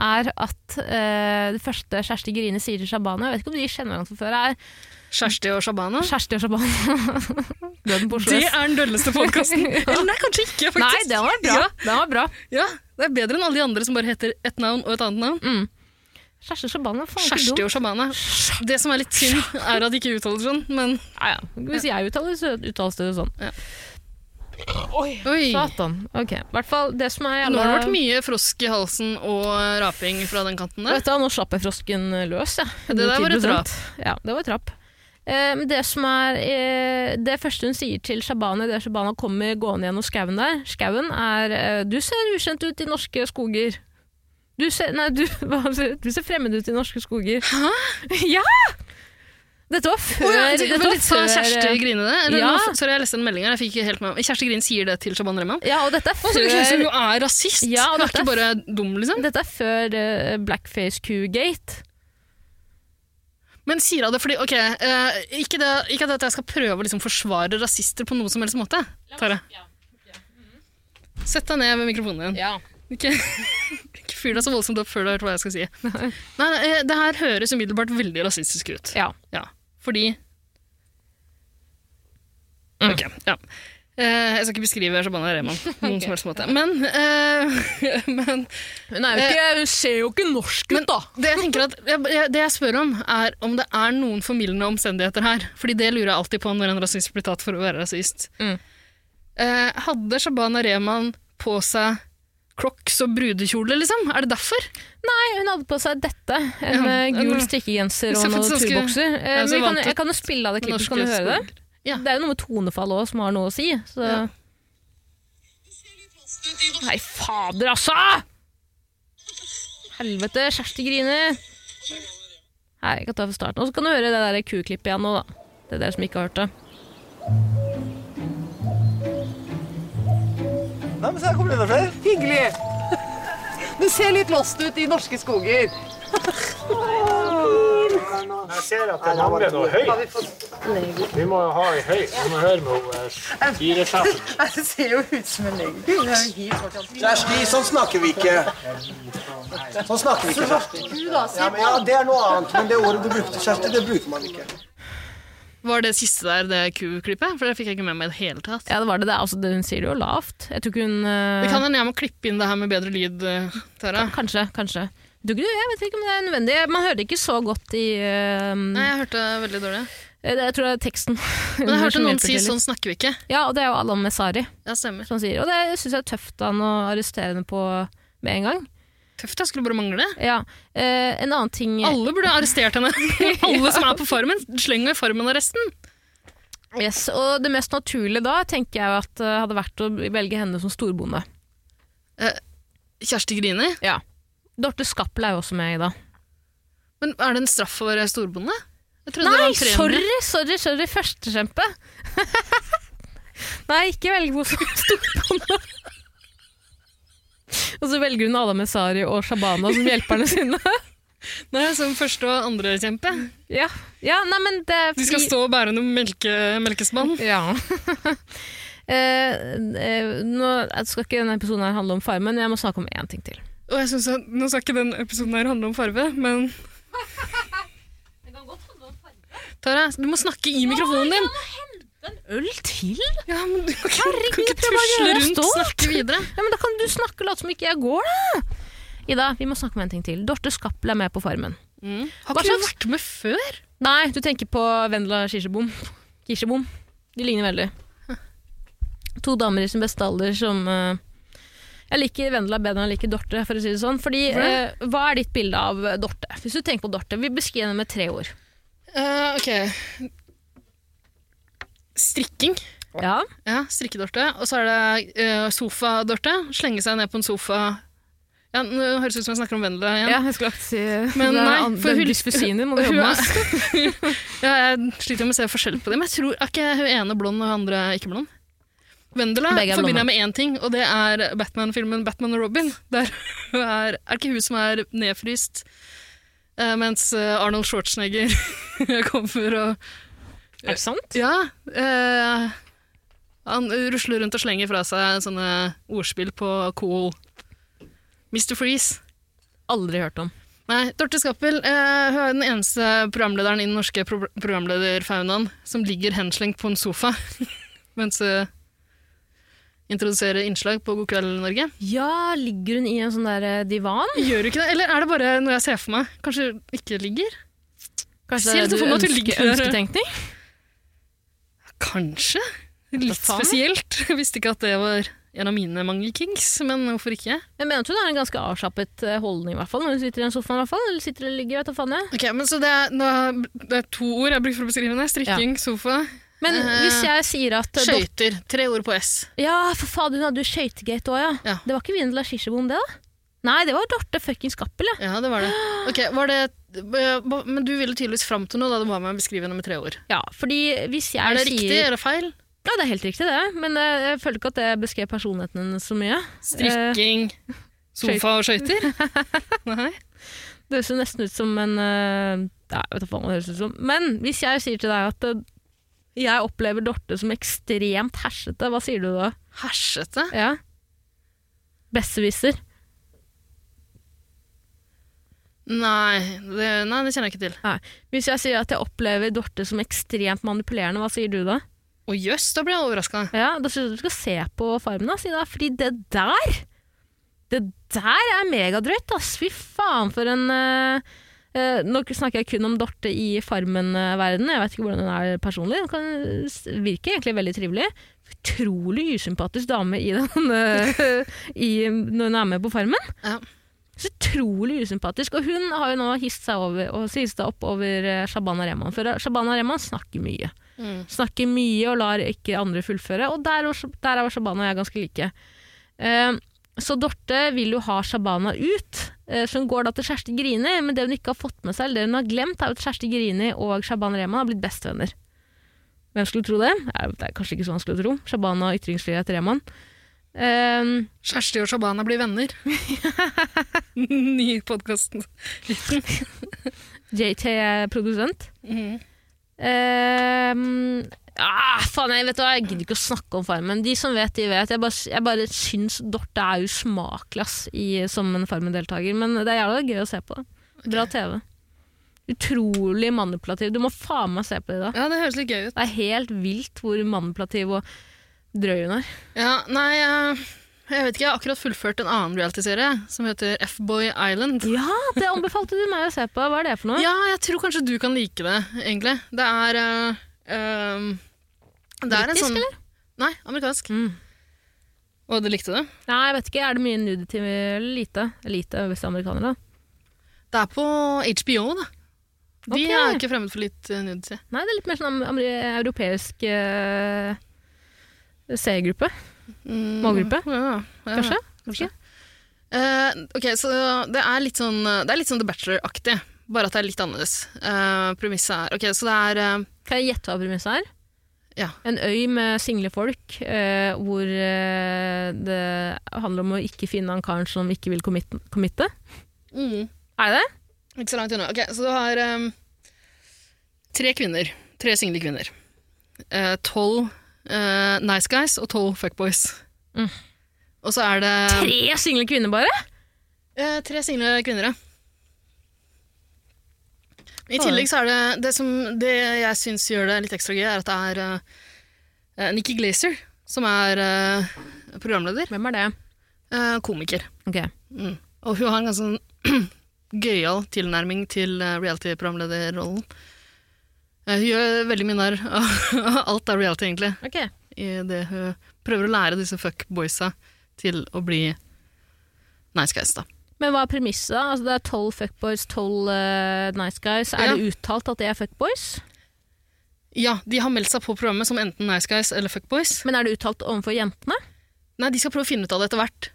er at eh, det første Kjersti Grine sier til Shabana Jeg vet ikke om de kjenner hverandre fra før. er Kjersti og Shabana. Kjersti og Shabana. Døden på Oslo Det S. er den dølleste podkasten. Eller nei, kanskje ikke, faktisk. Nei, den var bra. Ja, Den var bra. ja, det er bedre enn alle de andre som bare heter et navn og et annet navn. Mm. Kjersti og Shabana, faen ikke Kjersti dum. og Shabana. Det som er litt synd, er at de ikke uttaler sånn, men Nei, ja. Hvis jeg uttaler det, så uttales det jo sånn. Oi. Satan. Ok. I hvert fall det som er Nå jævla har det vært mye frosk i halsen og raping fra den kanten der. Vet du, hva, nå slapp jeg frosken løs, jeg. Det der var et 110%. Ja, det var et rap. Eh, men det som er eh, Det første hun sier til Shabana idet Shabana kommer gående gjennom skauen der, skauen er eh, 'Du ser ukjent ut i norske skoger'. Du ser, nei, du, hva sier du? du ser fremmed ut i norske skoger. Hæ? Ja! Dette var før Å ja, det dette var var litt sånn før- Kjersti Grine det? Eller, Ja. nå- sorry, jeg leste en melding her. Jeg fikk ikke helt med meg. Kjersti Grine sier det til Shaban Rehman. Ja, og dette er Å, så du kunne si at før, hun er rasist? Ja, og hun er dette- ikke bare dum, liksom. dette er før eh, Blackface Q-gate. Men sier hun det fordi Ok, eh, ikke, det, ikke at jeg skal prøve å liksom forsvare rasister på noen som helst måte. Tara. Mhm. Sett deg ned ved mikrofonen din. Ja. Ikke, ikke fyr deg så voldsomt opp før du har hørt hva jeg skal si. Nei, eh, Det her høres umiddelbart veldig rasistisk ut. ja. Ja, fordi Ok, ja. Eh, jeg skal ikke beskrive Shabana Rehman på noen som helst måte. Men, eh, men, Hun, er jo ikke, hun ser jo ikke norsk men ut, da! det, jeg tenker at, jeg, jeg- det jeg spør om, er om det er noen formildende omstendigheter her. Fordi det lurer jeg alltid på når en rasist blir tatt for å være rasist. Mm. Eh, hadde Shabana Rehman på seg Crocs og brudekjole, liksom? Er det derfor? Nei, hun hadde på seg dette. En Ja, eh, gul den- strikkegenser Ser og noen faktisk ganske- turbokser. Eh, Ja, men så vi kan, vant ut jeg kan jo spille av det klippet, så kan du høre det. Ja. Det er jo noe med tonefall òg som har noe å si. Så. Ja. Nei, fader, altså! Helvete, Kjersti griner. Nei, jeg kan ta fra starten. Og så kan du høre det der kuklippet igjen nå, da. Det er dere som ikke har hørt det. Nei, men se her kommer det enda flere. Hyggelig. Du ser litt lost ut i norske skoger. Jeg ser at den mangler noe høyt. Vi må ha en høy. Vi må høre med henne eh, styresjefen. Det ser jo ut som en leger. Kjersti, sånn snakker vi ikke. Sånn snakker vi ikke, Kjersti. Ja, men ja, det er noe annet, men det ordet du brukte, Kjersti, det bruker man ikke. Var det siste der det ku-klippet? For det fikk jeg ikke med meg i det hele tatt. Ja, det var det. det er, altså, det- hun sier det jo lavt. Jeg tror ikke hun eh, Det kan hende jeg må klippe inn det her med bedre lyd, eh, Tara. Kanskje, kanskje. Du, ikke- jeg vet ikke om det er nødvendig. Man hører det ikke så godt i eh, Nei, jeg hørte veldig dårlig. eh, Jeg tror det er teksten. Men jeg hørte som noen hjelper si til litt. 'sånn snakker vi ikke'. Ja, og det er jo Alan Messari Ja, stemmer. som sier. Og det syns jeg er tøft av han å arrestere henne på med en gang. Tøft, jeg skulle bare mangle. Ja, eh, En annen ting Alle burde ha arrestert henne. Alle som er på Farmen, sleng henne i Farmen og resten. yes, Og det mest naturlige da tenker jeg jo at eh, hadde vært å velge henne som storbonde. Kjersti griner. Dorte Skappel er jo også med i dag. Men er det en straff for å være storbonde? Jeg trodde det var Nei, en premie. sorry, sorry, sorry, førstekjempe! Nei, ikke velg henne som storbonde. og så velger hun Adam Messari og Shabana som hjelperne sine. Nei, som første og andre kjempe. ja. ja, nei, men det er De skal fordi- stå og bære noen melke, melkespann. Ja. Eh, eh, nå jeg skal ikke denne episoden her handle om Farmen, men jeg må snakke om én ting til. Og jeg synes at, Nå skal ikke den episoden her handle om farve, men Tara, du må snakke i mikrofonen din! En øl til? Ja, men du kan, ikke- kan Herregud, ikke prøv å tusle gjøre deg rundt, stolt. snakke videre. Ja, men Da kan du snakke og late som ikke jeg går, da! Ida, vi må snakke om en ting til. Dorte Skappel er med på Farmen. Har Hva ikke du slags- vært med før? Nei, du tenker på Vendela Kirsebom. Kirsebom. De ligner veldig. To damer i sin beste alder som eh, Jeg liker Vendela bedre enn jeg liker Dorte, for å si det sånn. Fordi, Hvordan? eh, hva er ditt bilde av Dorte? Hvis du tenker på Dorte, vi beskriver henne med tre ord. Eh, ok. Strikking. Ja. Ja, strikkedorte. Og så er det eh, sofadorte. Slenge seg ned på en sofa ja, Nå høres det ut som jeg snakker om Vendela igjen. jeg skulle akkurat si Men det er nei, an- for den hun- dysfysien din må du hun jobbe er- med. Ja, jeg sliter med å se forskjell på dem. Jeg tror er ikke hun ene blond og hun andre ikke blond. Vendela Begge er forbinder jeg med én ting, og det er Batman-filmen 'Batman og Robin'. Der hun er, er det ikke hun som er nedfryst, eh, mens eh, Arnold Schwarzenegger kommer og Er det sant? Ja. eh, han rusler rundt og slenger fra seg sånne ordspill på cool Mr. Freeze. Aldri hørt om. Nei, Dorte Skappel eh, hun er den eneste programlederen i den norske pro programlederfaunaen som ligger henslengt på en sofa mens hun introduserer innslag på God kveld, Norge. Ja, ligger hun i en sånn der eh, divan? Gjør du ikke det? Eller er det bare noe jeg ser for meg? Kanskje hun ikke ligger? Kanskje det Ser er litt for det meg at du ønsker, hun ligger der. ønsketenkning? Kanskje? Litt faen? spesielt. Jeg visste ikke at det var en av mine mange kinks, men hvorfor ikke? Jeg mener at hun har en ganske avslappet eh, holdning, i hvert fall, når hun sitter i den sofaen. i hvert fall, Eller sitter og ligger, vet du faen jeg. Ok, men Så det er, nå, det er to ord jeg bruker for å beskrive henne. Strikking, sofa, Men Eh, hvis jeg sier at eh, skøyter. Tre ord på S. Ja, for fader, hun hadde jo skøytegate òg, ja. Ja. Det var ikke Vindela Kirsebom, det, da? Nei, det var Dorte fuckings Cappel, ja. Ja, det var det. Ok, var det eh, men du ville tydeligvis fram til noe da du ba meg beskrive henne med tre ord. ja. Fordi hvis jeg Er det sier riktig eller feil? Ja, det er helt riktig, det. Men eh, jeg føler ikke at det beskrev personligheten hennes så mye. Strikking, sofa og skøyter? Eh, Nei. Det høres jo nesten ut som en eh, Nei, jeg vet ikke hva det høres ut som. Men hvis jeg sier til deg at eh, jeg opplever Dorte som ekstremt hersete, hva sier du da? Hersete? Ja. Besserwisser. Nei det, nei, det kjenner jeg ikke til. Nei. Hvis jeg sier at jeg opplever Dorte som ekstremt manipulerende, hva sier du da? Å jøss, da ble jeg overraska. Ja, Da syns jeg du skal se på Farmen, da, si da. Fordi det der Det der er megadrøyt, ass! Fy faen for en eh, eh, Nå snakker jeg kun om Dorte i Farmen-verdenen, jeg vet ikke hvordan hun er personlig. Hun kan, s- virker egentlig veldig trivelig. Utrolig usympatisk dame i den, eh, i, når hun er med på Farmen. Ja. Så utrolig usympatisk. Og hun har jo nå hist seg over, og hista opp over eh, Shabana Rehman. For eh, Shabana Rehman snakker mye snakker mye og lar ikke andre fullføre. Og der, var- der er Shabana og jeg ganske like. Eh, så Dorte vil jo ha Shabana ut, eh, så hun går da til Kjersti Grini. Men det hun ikke har fått med seg, eller det hun har glemt, er jo at Kjersti Grini og Shaban Rehman har blitt bestevenner. Hvem skulle tro det? Ja, Det er kanskje ikke så vanskelig å tro. Shabana og ytringsfrihet Rehman. Eh, Kjersti og Shabana blir venner. Ny podkast. JT er produsent. Eh, ah, faen, jeg, vet du, hva, jeg gidder ikke å snakke om Farmen. De som vet, de vet. Jeg bare, jeg bare syns Dorte er usmakelig ass, i- som en Farmen-deltaker. Men det er jævla gøy å se på. da. Bra TV. Utrolig manipulativ. Du må faen meg se på det i dag. Ja, det høres litt gøy ut. Det er helt vilt hvor manipulativ og drøy hun er. Ja, nei, eh, jeg vet ikke. Jeg har akkurat fullført en annen reality-serie som heter F-Boy Island. Ja, det anbefalte du meg å se på. Hva er det for noe? Ja, jeg tror kanskje du kan like det, egentlig. Det er eh, ehm, det er en Britisk, sånn... eller? Nei, amerikansk. Mm. Og det likte du? Nei, jeg vet ikke. Er det mye nudity eller lite? Lite vestamerikanere, da. Det er på HBO, da. De Ok. er ikke fremmed for litt uh, nudity. Nei, det er litt mer sånn am- am- europeisk eh, seergruppe. Mm, Målgruppe? Ja, ja, ja. Kanskje? Kanskje. Eh, ok, så det er litt sånn, det er litt sånn The Bachelor-aktig, bare at det er litt annerledes. Eh, premisset er Ok, så det er eh, Kan jeg gjette hva premisset er? Ja. En øy med single folk, eh, hvor eh, det handler om å ikke finne han karen som ikke vil commit- committe. mm, Er det det? Ikke så langt unna. Ok, Så du har ehm, tre kvinner. Tre single kvinner. Eh, tolv eh, nice guys og tolv fuckboys. Mm. Og så er det Tre single kvinner bare? Eh, tre single kvinner, ja. I tillegg så er det det som det jeg syns gjør det litt ekstra gøy, er at det er eh, Nikki Glaser som er eh, programleder. Hvem er det? eh, komiker. Ok. Mm. Og hun har en ganske sånn gøyal tilnærming til eh, reality-programlederrollen. Eh, Hun gjør veldig mye narr av alt er reality, egentlig, Ok. i det hun prøver å lære disse fuckboysa til å bli nice guys, da. Men hva er premisset? da? Altså, det er tolv fuckboys, tolv eh, nice guys. Er Ja. det uttalt at det er fuckboys? Ja, de har meldt seg på programmet som enten nice guys eller fuckboys. Men er det uttalt overfor jentene? Nei, de skal prøve å finne ut av det etter hvert.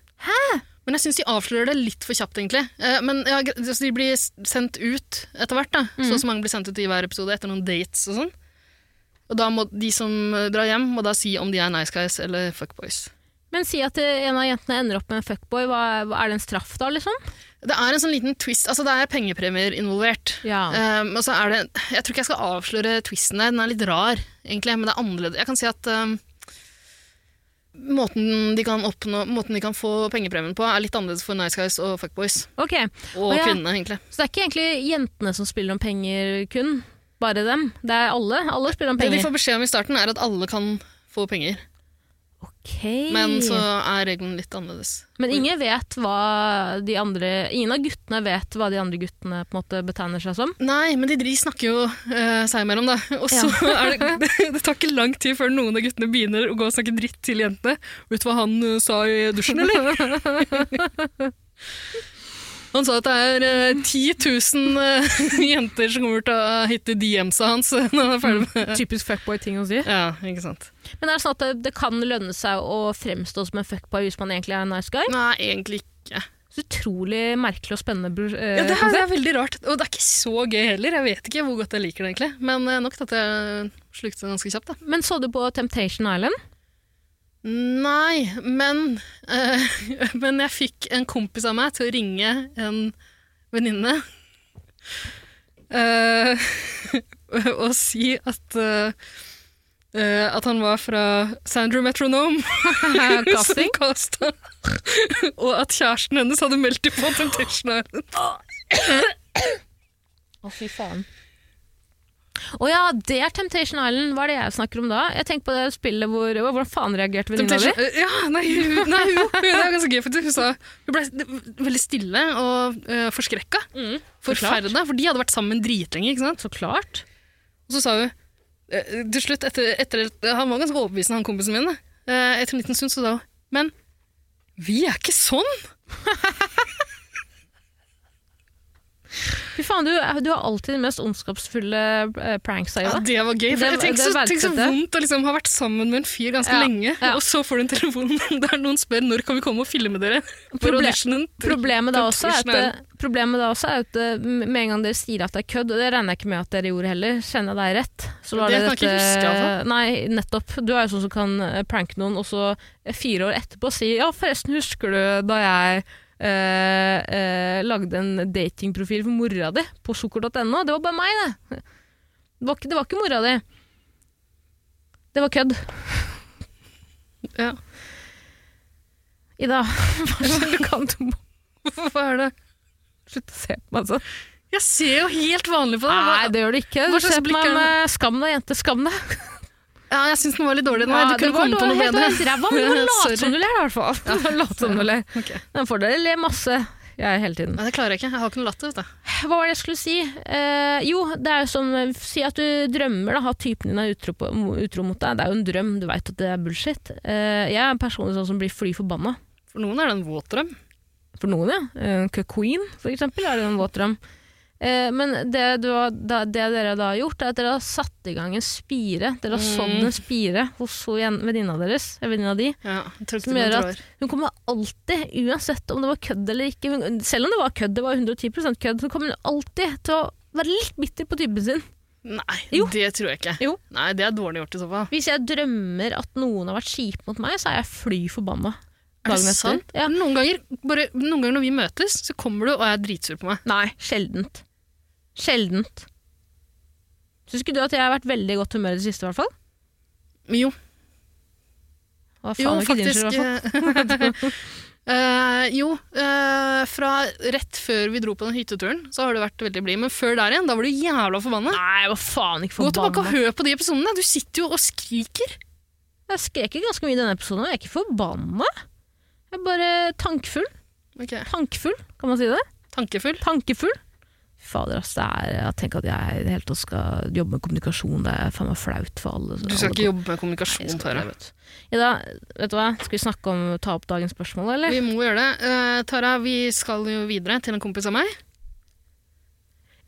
Men jeg syns de avslører det litt for kjapt, egentlig. Eh, men ja, gre- altså, de blir s- sendt ut etter hvert, da. Så og så mange blir sendt ut i hver episode etter noen dates og sånn. Og da må de som eh, drar hjem, må da si om de er nice guys eller fuckboys. Men si at eh, en av jentene ender opp med en fuckboy, hva, hva- er det en straff da, liksom? Det er en sånn liten twist. Altså, det er pengepremier involvert. Ja. Um, og så er det, jeg tror ikke jeg skal avsløre twisten der. Den er litt rar, egentlig, men det er annerledes. Jeg kan si at um, måten, de kan oppnå, måten de kan få pengepremien på, er litt annerledes for Nice Guys og Fuckboys. Ok, Og Å, ja. kvinnene, egentlig. Så det er ikke egentlig jentene som spiller om penger kun, bare dem. Det er alle. Alle spiller om Det de penger. får beskjed om i starten, er at alle kan få penger. Ok, Ok. Men så er regelen litt annerledes. Men ingen vet hva de andre Ingen av guttene vet hva de andre guttene på en måte betegner seg som. Nei, men de, de snakker jo eh, seg imellom, da. Og så er det, det, tar ikke lang tid før noen av guttene begynner å gå og snakke dritt til jentene. Vet du hva han eh, sa i dusjen, eller? Han sa at det er eh, 10 000 eh, jenter som kommer til å hitte DM-sa hans når han er ferdig med Typisk fuckboy-ting å si. Ja, ikke sant. Men er det sånn at det, det kan lønne seg å fremstå som en fuckboy hvis man egentlig er en nice guy? Nei, egentlig ikke. Så utrolig merkelig og spennende. bro- eh, Ja, det, er, det er veldig rart. Og det er ikke så gøy heller. Jeg vet ikke hvor godt jeg liker det, egentlig. Men eh, nok til at jeg slukte det ganske kjapt, da. Men så du på Temptation Island? Nei, men eh, Men jeg fikk en kompis av meg til å ringe en venninne. eh, og si at eh, eh, At han var fra Sandra Metronome. Casting? som kasta. og at kjæresten hennes hadde meldt dem på Temptation Island. Å, fy faen. Å ja, det er Temptation Island. Hva er det jeg snakker om da? Jeg tenker på det spillet hvor Hvordan faen reagerte venninna di? Temptation, eh, ja, nei, hun- nei, hun- det er ganske gøy, for hun sa Hun ble veldig stille og uh, forskrekka. Mm, Forferda, for de hadde vært sammen dritlenge, ikke sant? Så klart. Og så sa hun eh, til slutt, etter, etter Han var ganske overbevisende, han kompisen min. da. Eh, Etter en liten stund så sa hun Men vi er ikke sånn! Fy faen, du, er- du har alltid de mest ondskapsfulle eh, pranksa i Ja, deg. det var gøy. For Det- jeg tenk, så, det verdsetter tenk så jeg. vondt å liksom ha vært sammen med en fyr ganske Ja, lenge, ja. og så får du en telefon der noen spør når kan vi komme og filme dere. For Proble- auditionen. Problemet da også er at, Temptation Island. det- problemet da også er at eh, med en gang dere sier at det er kødd, og det regner jeg ikke med at dere gjorde heller, kjenner jeg deg rett. Så var Det kan jeg ikke dette- huske, altså. Nei, nettopp. Du er jo sånn som kan eh, pranke noen, og så eh, fire år etterpå si ja, forresten husker du da jeg eh, eh, lagde en datingprofil for mora di på sukker.no. Det var bare meg, det. Det var ikke, det var ikke mora di. Det var kødd. Ja. Ida, hva er det du kan du må Hva er det? slutte å se på meg sånn? Jeg ser jo helt vanlig på det. Nei, det gjør du ikke. Hva Du slags ser på blikk meg er det? med skam deg, jente. Skam deg. Ja, jeg syns den var litt dårlig nå. Ja, du kunne det var komme på noe helt- bedre. helt ræva, men du må Sorry. late som du ler, i hvert fall. Du må late som du ler. Ok. Det er en fordel å le masse. Jeg hele tiden. Nei, det klarer jeg ikke. Jeg har ikke noe latter. vet du. Hva var det jeg skulle si? Eh, jo, det er jo som Si at du drømmer da, at typen din er utro, på, utro mot deg. Det er jo en drøm, du veit at det er bullshit. Eh, jeg er en person sånn som blir fly forbanna. For noen er det en våt drøm. For noen, ja. Eh, Queen, for eksempel, er det en våt drøm. Eh, men det, du har, da, det dere da har gjort, er at dere har satt i gang en spire. Dere har sådd Mm. en spire hos hun jen- venninna deres. eh, Venninna di. Ja, jeg tror ikke Som det gjør drar. at hun kommer alltid, uansett om det var kødd eller ikke hun, Selv om det var kødd, det var 110 kødd, så kommer hun alltid til å være litt bitter på typen sin. Nei, Jo. det tror jeg ikke. Jo. Nei, Det er dårlig gjort i så fall. Hvis jeg drømmer at noen har vært kjipe mot meg, så er jeg fly forbanna. Er det dagen etter. sant? Ja. Noen, ganger, bare, noen ganger når vi møtes, så kommer du og er dritsur på meg. Nei, sjeldent. Sjeldent. Syns ikke du at jeg har vært veldig i godt humør i det siste, i hvert fall? Men Jo, Hva faen, jo det var ikke din skyld, faktisk. i hvert fall? eh, jo, eh, fra rett før vi dro på den hytteturen, så har du vært veldig blid. Men før der igjen, da var du jævla forbanna. Nei, jeg var faen ikke eh, Gå tilbake og forbanna. hør på de episodene. Du sitter jo og skriker. Jeg skrek jo ganske mye i denne episoden, og jeg er ikke forbanna. Jeg er bare tankfull. Tankfull, kan man si det? Tankefull. Tankefull. Fy Fader, ass, det er, jeg tenker at jeg i det hele tatt skal jobbe med kommunikasjon. Det er faen meg flaut for alle. Du skal alle ikke jobbe med Jeg skal kommunikasjon. ikke Tara. det, vet du. Ida, vet du hva? Skal vi snakke om ta opp dagens spørsmål, eller? Vi må gjøre det. Eh, Tara, vi skal jo videre til en kompis av meg.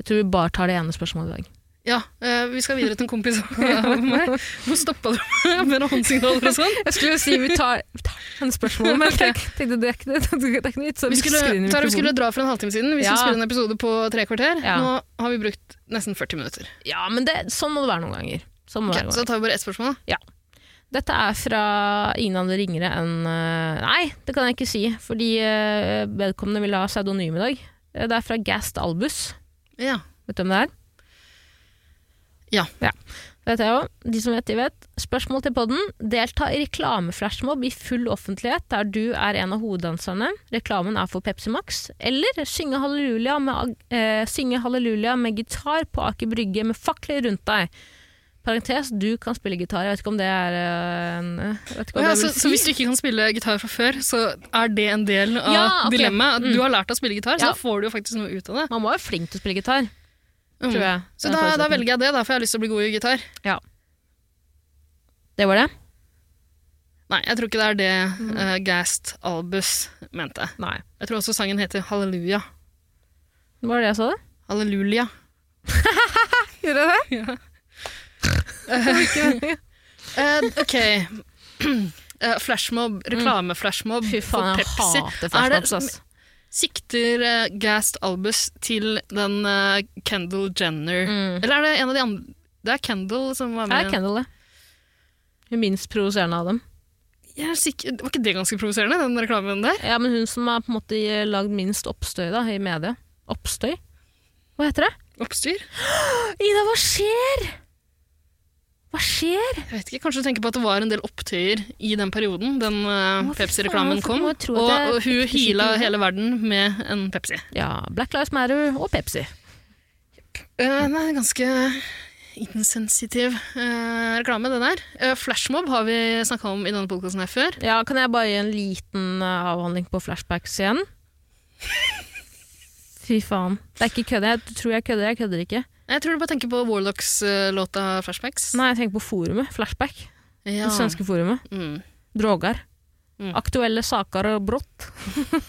Jeg tror vi bare tar det ene spørsmålet i dag. Ja, eh, vi skal videre til en kompis av meg. Hvor stoppa du meg med noen håndsignaler og sånn? Jeg skulle jo si vi tar, vi tar en spørsmål, men jeg tenkte det er ikke, det er ikke noe vits å Vi skulle, viske det inn i Tara, vi skulle mikrofonen. dra for en halvtime siden. Vi skulle Ja. spille en episode på tre kvarter. Ja. Nå har vi brukt nesten 40 minutter. Ja, men det, sånn må det være noen ganger. Sånn må Ok, det være noen så tar vi bare ett spørsmål. da. Dette er fra ingen andre ringere enn eh, Nei, det kan jeg ikke si, fordi eh, vedkommende vil ha pseudonym i dag. Eh, Det er fra Gast Albus. Ja. Vet du hvem det er? Ja. Det vet jeg òg. De som vet, de vet. Spørsmål til podden. Delta i reklameflashmob i full offentlighet der du er en av hoveddanserne, reklamen er for Pepsi Max, eller synge halleluja med, ag- eh, synge halleluja med gitar på Aker Brygge med fakler rundt deg. Parentes, du kan spille gitar. Jeg vet ikke om det er eh, en- jeg vet ikke Å om ja, det så, vil så hvis du ikke kan spille gitar fra før, så er det en del av Ja, ok. Mm. dilemmaet. At Du har lært deg å spille gitar, Ja. så da får du jo faktisk noe ut av det. Man må være flink til å spille gitar, tror jeg. Mm. Så da, da velger jeg det, da, for jeg har lyst til å bli god i gitar. Det var det? Nei, jeg tror ikke det er det Mm. eh, Gast Albus mente. Nei. Jeg tror også sangen heter Halleluja. Var det jeg sa det? Halleluja. Gjorde jeg det? Eh, ok. Eh, flashmob, reklame-flashmob Mm. Fy faen, for jeg Pepsi. hater Er det- flashbacks, ass. Sikter eh, Gast Albus til den eh, Kendall Jenner Mm. Eller er det en av de andre Det er Kendall som var Jeg med. er Kendall, det. Hun minst provoserende av dem. Jeg er sikker, var ikke det ganske provoserende, den reklamen der? Ja, men hun som har på en måte lagd minst oppstøy da, i media. Oppstøy? Hva heter det? Oppstyr? Ida, hva skjer? Hva skjer? Jeg vet ikke, Kanskje du tenker på at det var en del opptøyer i den perioden den eh, Å, fy Pepsi-reklamen faen, for kom, må jeg og, tro at jeg og hun fikk det hyla skikkelig. hele verden med en Pepsi. Ja, Black Lives Matter og Pepsi. Uh, nei, ganske insensitiv eh, reklame, det der. Eh, flashmob har vi snakka om i denne podkasten her før. Ja, Kan jeg bare gi en liten eh, avhandling på flashbacks igjen? Fy faen. Det er ikke kødd. Jeg tror jeg kødder. Jeg kødder ikke. Jeg tror du bare tenker på Warlocks-låta 'Flashbacks'. Nei, jeg tenker på forumet. Flashback. ja. Det svenske forumet. Mm. Drogar. Mm. Aktuelle saker og brott.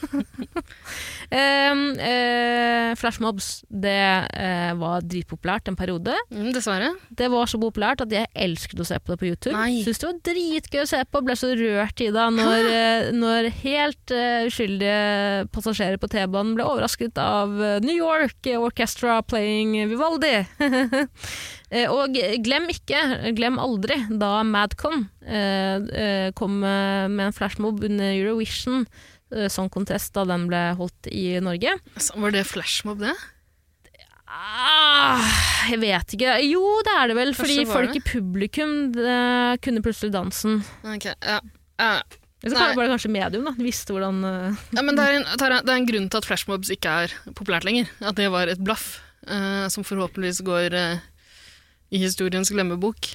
um, eh, flashmobs, det eh, var dritpopulært en periode. Mm, dessverre. Det var så populært at jeg elsket å se på det på YouTube. Nei. Synes det var dritgøy å se på, ble så rørt i det når, eh, når helt eh, uskyldige passasjerer på T-banen ble overrasket av eh, New York Orchestra playing Vivaldi. Eh, Og glem ikke, glem aldri, da Madcon eh, eh, kom eh, med en flashmob under Eurovision eh, Song Contest da den ble holdt i Norge. Så Altså, var det flashmob, det? Ah, jeg vet ikke. Jo, det er det vel. Fordi Kanskje var folk i publikum eh, kunne plutselig dansen. Ok, ja. Ja. Så Nei. var det kanskje medium, da. De visste hvordan eh, Ja, men det er, en, Tara, det er en grunn til at flashmobs ikke er populært lenger. At det var et blaff, eh, som forhåpentligvis går eh, i historiens glemmebok.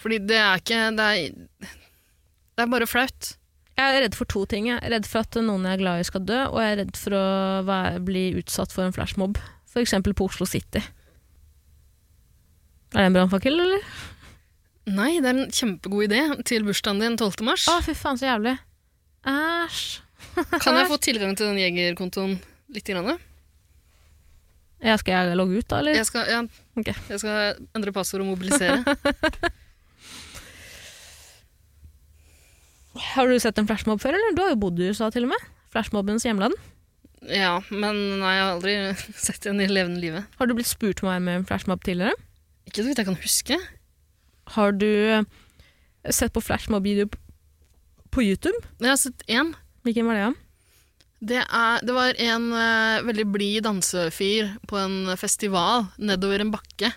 Fordi det er ikke Det er, det er bare flaut. Jeg er redd for to ting. Jeg er redd for at noen jeg er glad i, skal dø, og jeg er redd for å være, bli utsatt for en flashmob. F.eks. på Oslo City. Er det en brannfakkel, eller? Nei, det er en kjempegod idé til bursdagen din 12. mars. Å, fy faen, så jævlig. Æsj. Kan jeg få tilgang til den jegerkontoen litt? Grann? Ja, skal jeg logge ut, da, eller? Jeg, skal, ja, Ok. jeg skal endre passord og mobilisere. Har du sett en flashmob før, eller? Du har jo bodd i USA, til og med. Flashmobbens hjemland. ja, Men nei, jeg har aldri sett en i levende livet. Har du blitt spurt om å være med i en flashmob tidligere? Ikke så vidt jeg kan huske. Har du eh, sett på flashmob-video p- på YouTube? Jeg har sett én. Hvilken var det? ja? Det, er, det var en eh, veldig blid dansefyr på en festival nedover en bakke.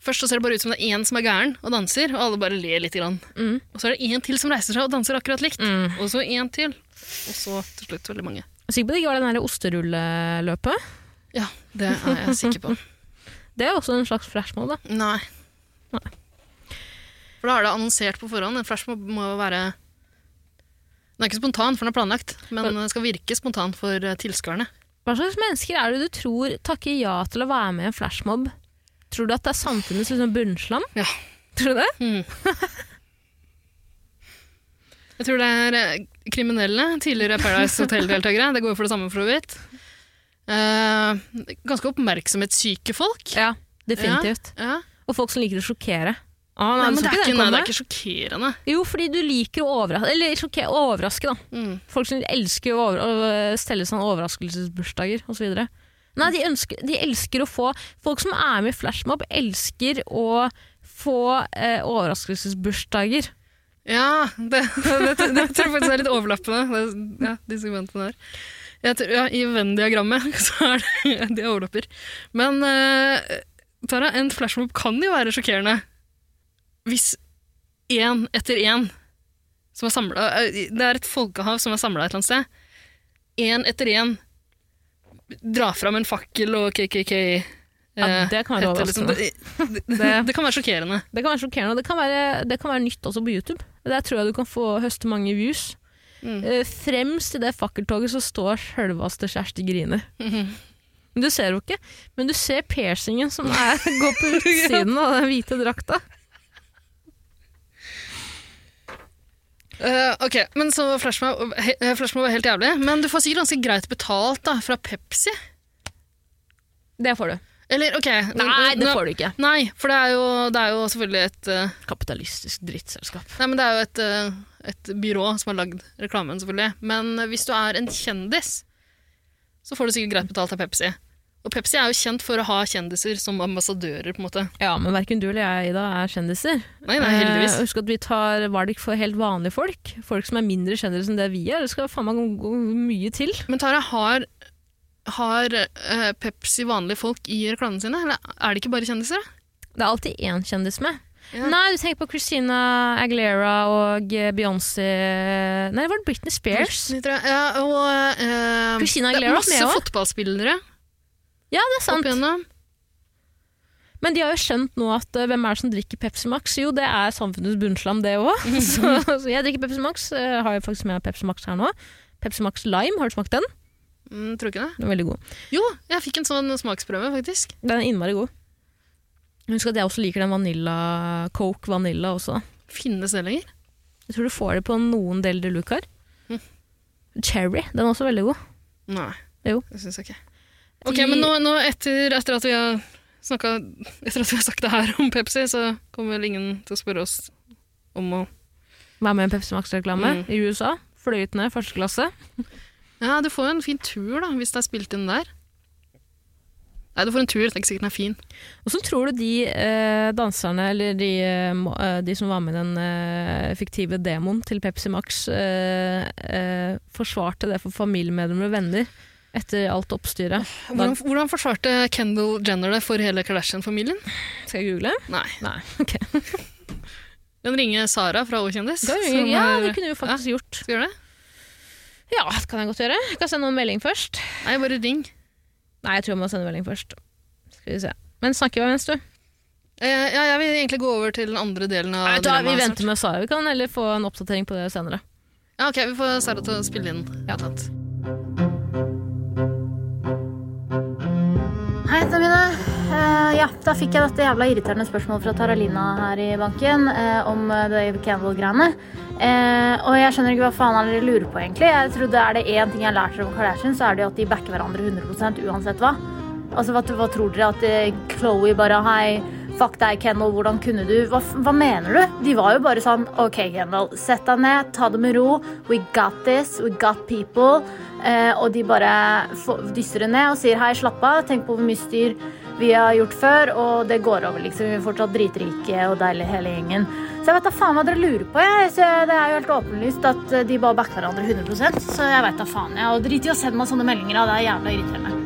Først så ser det bare ut som det er én som er gæren og danser, og alle bare ler litt. Grann. Mm. Og så er det én til som reiser seg og danser akkurat likt. Og så én til. Og så til slutt veldig mange. Jeg er sikker på det ikke var det der osterulleløpet. Ja, det er jeg sikker på. Det er også en slags flashmob, da. Nei. For da er det annonsert på forhånd. En flashmob må jo være Den er ikke spontan, for den er planlagt, men den skal virke spontan for eh, tilskuerne. Hva slags mennesker er det du tror takker ja til å være med i en flashmob? Tror du at det er samfunnets liksom, bunnslam? Ja. Tror du det? Jeg tror det er eh, kriminelle, tidligere Paradise Hotel-deltakere. Det går jo for det samme, for så vidt. Eh, ganske oppmerksomhetssyke folk. Ja, definitivt. Ja. Og folk som liker å sjokkere. Ah, Nei, nei, men så det er, ikke, nei, den det komme. er ikke sjokkerende. Jo, fordi du liker å overraske, eller sjokke- å overraske, da. Mm. Folk som elsker å, over å eh, stelle sånne overraskelsesbursdager osv. Nei, de, ønsker, de elsker å få Folk som er med i Flashmob, elsker å få eh, overraskelsesbursdager. Ja, det, det, det, det tror jeg faktisk er litt overlappende, det, ja, de segmentene der. Jeg tror, ja, I Venn-diagrammet så er det de overlapper. Men eh, Tara, en flashmob kan jo være sjokkerende hvis én etter én som er samla Det er et folkehav som er samla et eller annet sted. Én etter én drar fram en fakkel og KKK-emblem Ja, det kan være eh, etter, eh, liksom, det, det, Det- det kan være sjokkerende. Det kan være sjokkerende, og det kan være, det kan være nytt også på YouTube. Der tror jeg du kan få høste mange views. Mm. Eh, Fremst i det fakkeltoget så står sjølveste Kjersti Griner. Men Du ser jo ikke, men du ser piercingen som er, går på utsiden av den hvite drakta. Eh, ok, men så Flashmob he, eh, Flashmob var helt jævlig. Men du får sikkert ganske greit betalt da, fra Pepsi. Det får du. Eller ok Nei, det får du ikke. Nei, for det er jo, det er jo selvfølgelig et eh, Kapitalistisk drittselskap. Nei, men det er jo et, eh, et byrå som har lagd reklamen, selvfølgelig. Men hvis du er en kjendis, så får du sikkert greit betalt av Pepsi. Og Pepsi er jo kjent for å ha kjendiser som ambassadører, på en måte. Ja, men verken du eller jeg, Ida, er kjendiser. Nei, nei, heldigvis. Eh, Husk at vi tar valg for helt vanlige folk. Folk som er mindre kjendiser enn det vi er. Det skal faen meg gå- gå mye til. Men Tara, har, har eh, Pepsi vanlige folk i reklamene sine? Eller er det ikke bare kjendiser? da? Det er alltid én kjendis med. Ja. Nei, du tenker på Christina Aguilera og eh, Beyoncé Nei, var det Britney Spears? Litt, Ja, og eh, Christina Det Aguilera er var med masse også. fotballspillere Ja, det er opp sant. igjennom. Men de har jo skjønt nå at eh, hvem er det som drikker Pepsi Max? Jo, det er samfunnets bunnslam, det òg. så, så jeg drikker Pepsi Max. eh, har jeg faktisk med Pepsi Max her nå. Pepsi Max Lime, har du smakt den? Mm, tror ikke det. Den er veldig god. Jo, jeg fikk en sånn smaksprøve, faktisk. Den er innmari god. Husk at jeg også liker den vanilla, Coke Vanilla også. Finnes det lenger? Jeg tror du får det på noen Del de Lucar. Cherry, den er også veldig god. Nei. Jo. Det syns jeg ikke. Ok, men nå, nå etter, etter at vi har snakka Etter at vi har sagt det her om Pepsi, så kommer vel ingen til å spørre oss om å Være med i en Pepsi Max-reklame Mm. i USA. Fløyet ned første klasse. Ja, du får jo en fin tur, da, hvis det er spilt inn der. Nei, du får en tur. Det er ikke sikkert den er fin. Åssen tror du de eh, danserne, eller de, eh, må- eh, de som var med i den eh, fiktive demoen til Pepsi Max, eh, eh, forsvarte det for familiemedlemmer og venner etter alt oppstyret? Hvordan, hvordan forsvarte Kendal Jenner det for hele Kardashian-familien? Skal jeg google? Nei. Nei. ok. Den ringer Sara fra O kjendis. som Ja, er- det kunne vi jo faktisk gjort. Skal vi gjøre det? Ja, det kan jeg godt gjøre. Jeg kan sende noen melding først. Nei, bare ring. Nei, jeg tror jeg må sende melding først. Skal vi se. Men snakker vi mens du? Eh, ja, jeg vil egentlig gå over til den andre delen av Vet du hva, vi dilemmaet venter med Sara. Vi kan heller få en oppdatering på det senere. snart. Ja, ok, Vi får Sara til å spille inn. Ja, sant. Hei, Tamine. Eh, ja, da fikk jeg dette jævla irriterende spørsmålet fra Taralina her i banken eh, om eh, Dave Campbell-greiene. Eh, og jeg skjønner ikke hva faen han lurer på, egentlig. Jeg trodde Er det én ting jeg har lært dere om Kardashian, så er det jo at de backer hverandre 100 uansett hva. Altså, hva, hva tror dere? At eh, Chloe bare Hei, fuck deg, Kendall, hvordan kunne du? Hva, f- hva mener du? De var jo bare sånn OK, Kendall, sett deg ned, ta det med ro. We got this. We got people. Eh, og de bare få- dyster det ned og sier hei, slapp av, tenk på hvor mye styr vi har gjort før, og det går over, liksom. Vi er fortsatt dritrike og deilige hele gjengen. Så jeg vet da faen hva dere lurer på, jeg. Så det er jo helt åpenlyst at eh, de bare backer hverandre 100 så jeg vet da faen, jeg. Og drit i å sende meg sånne meldinger, da. Det er jævla irriterende.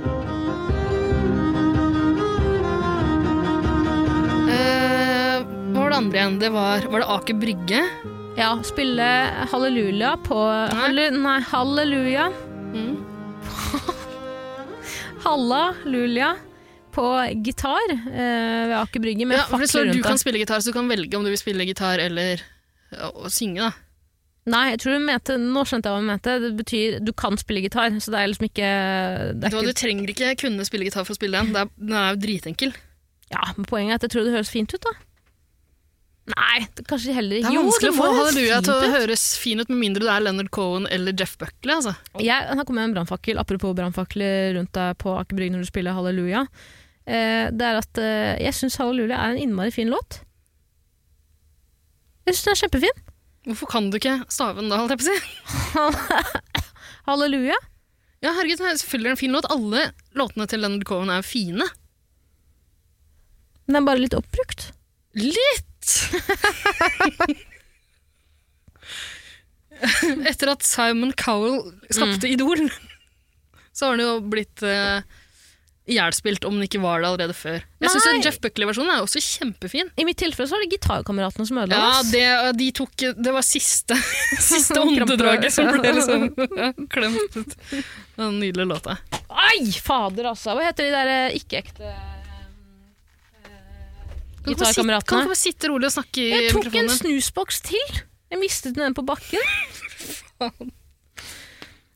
Eh, hva var det andre igjen? Det var, var det Aker Brygge? Ja, spille Halleluja på Halle, Nei, Halleluja. Mm. Halleluja på gitar eh, ved Aker Brygge med Ja, ja, for det står fakler Du rundt kan deg. spille gitar, så du kan velge om du vil spille gitar eller ja, å synge. da. Nei, jeg tror hun mente Nå skjønte jeg hva hun mente. Det betyr du kan spille gitar, så det er liksom ikke det Du, er du ikke, trenger ikke kunne spille gitar for å spille den. Det er, den er jo dritenkel. Ja, men Poenget er at jeg tror det høres fint ut, da. Nei, det, kanskje heller Det er Jo, vanskelig å må få høres halleluja fint til å ut. høres fin ut, med mindre det er Leonard Cohen eller Jeff Buckley. Altså. Jeg, her kommer en brannfakkel, apropos brannfakler rundt deg på Aker Brygge når du spiller Halleluja. Eh, det er at eh, jeg syns Halleluja er en innmari fin låt. Jeg syns den er kjempefin. Hvorfor kan du ikke stave den da, holdt jeg på å si? Halleluja. Ja, herregud, det er selvfølgelig en fin låt. Alle låtene til Leonard Cohen er fine. Den er bare litt oppbrukt. Litt! Etter at Simon Cowell skapte Idol, så har den jo blitt uh, ihjelspilt, om den ikke var det allerede før. Jeg syns Nei. Jeff Buckley-versjonen er også kjempefin. I mitt tilfelle så var det gitarkameratene som ødela Ja, oss. det, de tok, det var siste, siste åndedraget som ble liksom klemt ut. Den nydelige låta. Ai, fader altså! Hva heter de der eh, ikke-ekte Kan du ikke bare sitte- Kan du ikke gitarkameratene. bare sitte rolig og snakke i Jeg tok en mikrofonen? snusboks til. Jeg mistet den på bakken.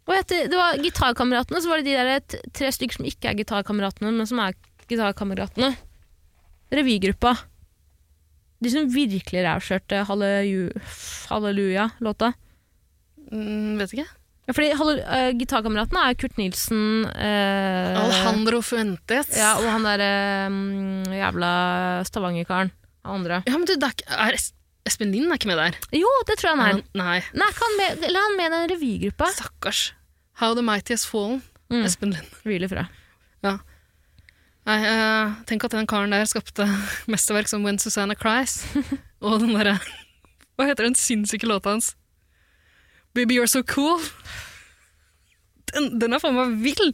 Og etter, det var gitarkameratene, så var det de der t- tre stykker som ikke er gitarkameratene, men som er gitarkameratene. Revygruppa. De som virkelig rævkjørte Halleju- Halleluja-låta. Mm, vet ikke. Ja, fordi Halle- eh, gitarkameratene er Kurt Nilsen eh, Alejandro Fuentes. Ja, og han der eh, mm, jævla Stavanger-karen. Han andre. Ja, men du, det er, ikke- er Es- Espen Lind er ikke med der. Jo, det tror jeg han er. Han- Nei, Nei, er ikke han med, eller er han med i den revygruppa? stakkars. How the mighty has fallen. Mm. Espen Lind. Hviler fra. Nei, eh, tenk at den karen der skapte mesterverk som When Susanna Cries. og den derre Hva heter den sinnssyke låta hans? Baby, you're so cool. Den, den er faen meg vill!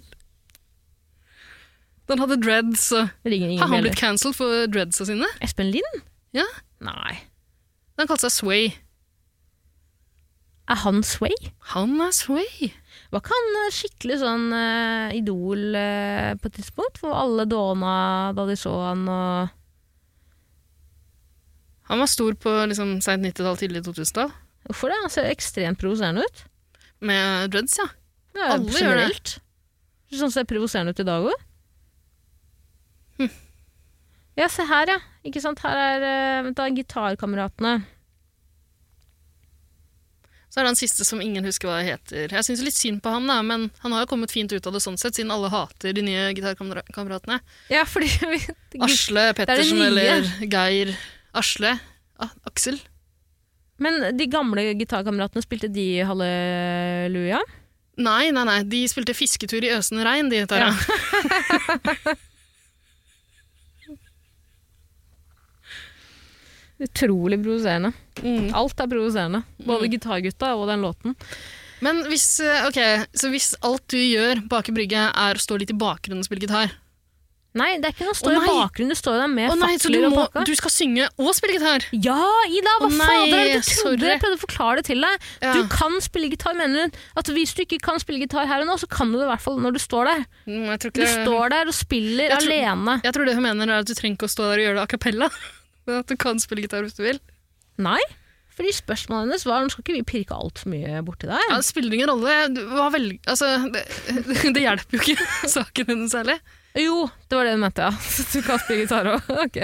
Den hadde dreads. og- Ringer ingen Har han blitt bjeller. cancelled for dreadsa sine? Espen Lind? Ja. Nei. Den kalte seg Sway. Er han Sway? Han er Sway! Var ikke han eh, skikkelig sånn eh, idol eh, på et tidspunkt? Hvor alle dåna da de så han og Han var stor på liksom, seint 90-tall, tidlig 2000-tall. Hvorfor det? Han ser ekstremt provoserende ut. Med dreads, ja. Det er jo Alle gjør det. generelt. Sånn ser provoserende ut i dag òg. Ja, se her, ja. Ikke sant? Her er eh, vent da, gitarkameratene. Så er det han siste som ingen husker hva heter. Jeg syns litt synd på ham, da, men han har jo kommet fint ut av det sånn sett, siden alle hater de nye gitarkameratene. Ja, fordi vi- Asle Pettersen nye. eller Geir Asle. Ah, Aksel. Men de gamle gitarkameratene, spilte de halleluja? Nei, nei, nei, de spilte fisketur i Øsen rein, de, Tara. Utrolig provoserende. Mm. Alt er provoserende. Både gitargutta og den låten. Men hvis, eh, ok, så hvis alt du gjør bak i brygge, er å stå litt i bakgrunnen og spille gitar Nei, det er ikke noe Å, stå i nei. bakgrunnen. Du står der med Å nei, så du, fakler og må, pakka. du skal synge og spille gitar! Ja, Ida! Hva Å, nei, fader er det du sorry. trodde? Jeg prøvde å forklare det til deg. Ja. Du kan spille gitar, mener hun. At hvis du ikke kan spille gitar her og nå, så kan du det i hvert fall når du står der. Mm, Jeg tror, Du ikke det- står der og spiller Jeg tror- alene. jeg tror det hun mener, er at du trenger ikke å stå der og gjøre det a cappella. Men at du kan spille gitar hvis du vil. Nei. Fordi spørsmålet hennes var nå skal ikke vi pirke altfor mye borti der. Ja, det spiller ingen rolle. Du- Hva velg... Altså, det, det hjelper jo ikke saken hennes særlig. Jo, det var det du mente, ja. Så du kan spille gitar òg. Ok.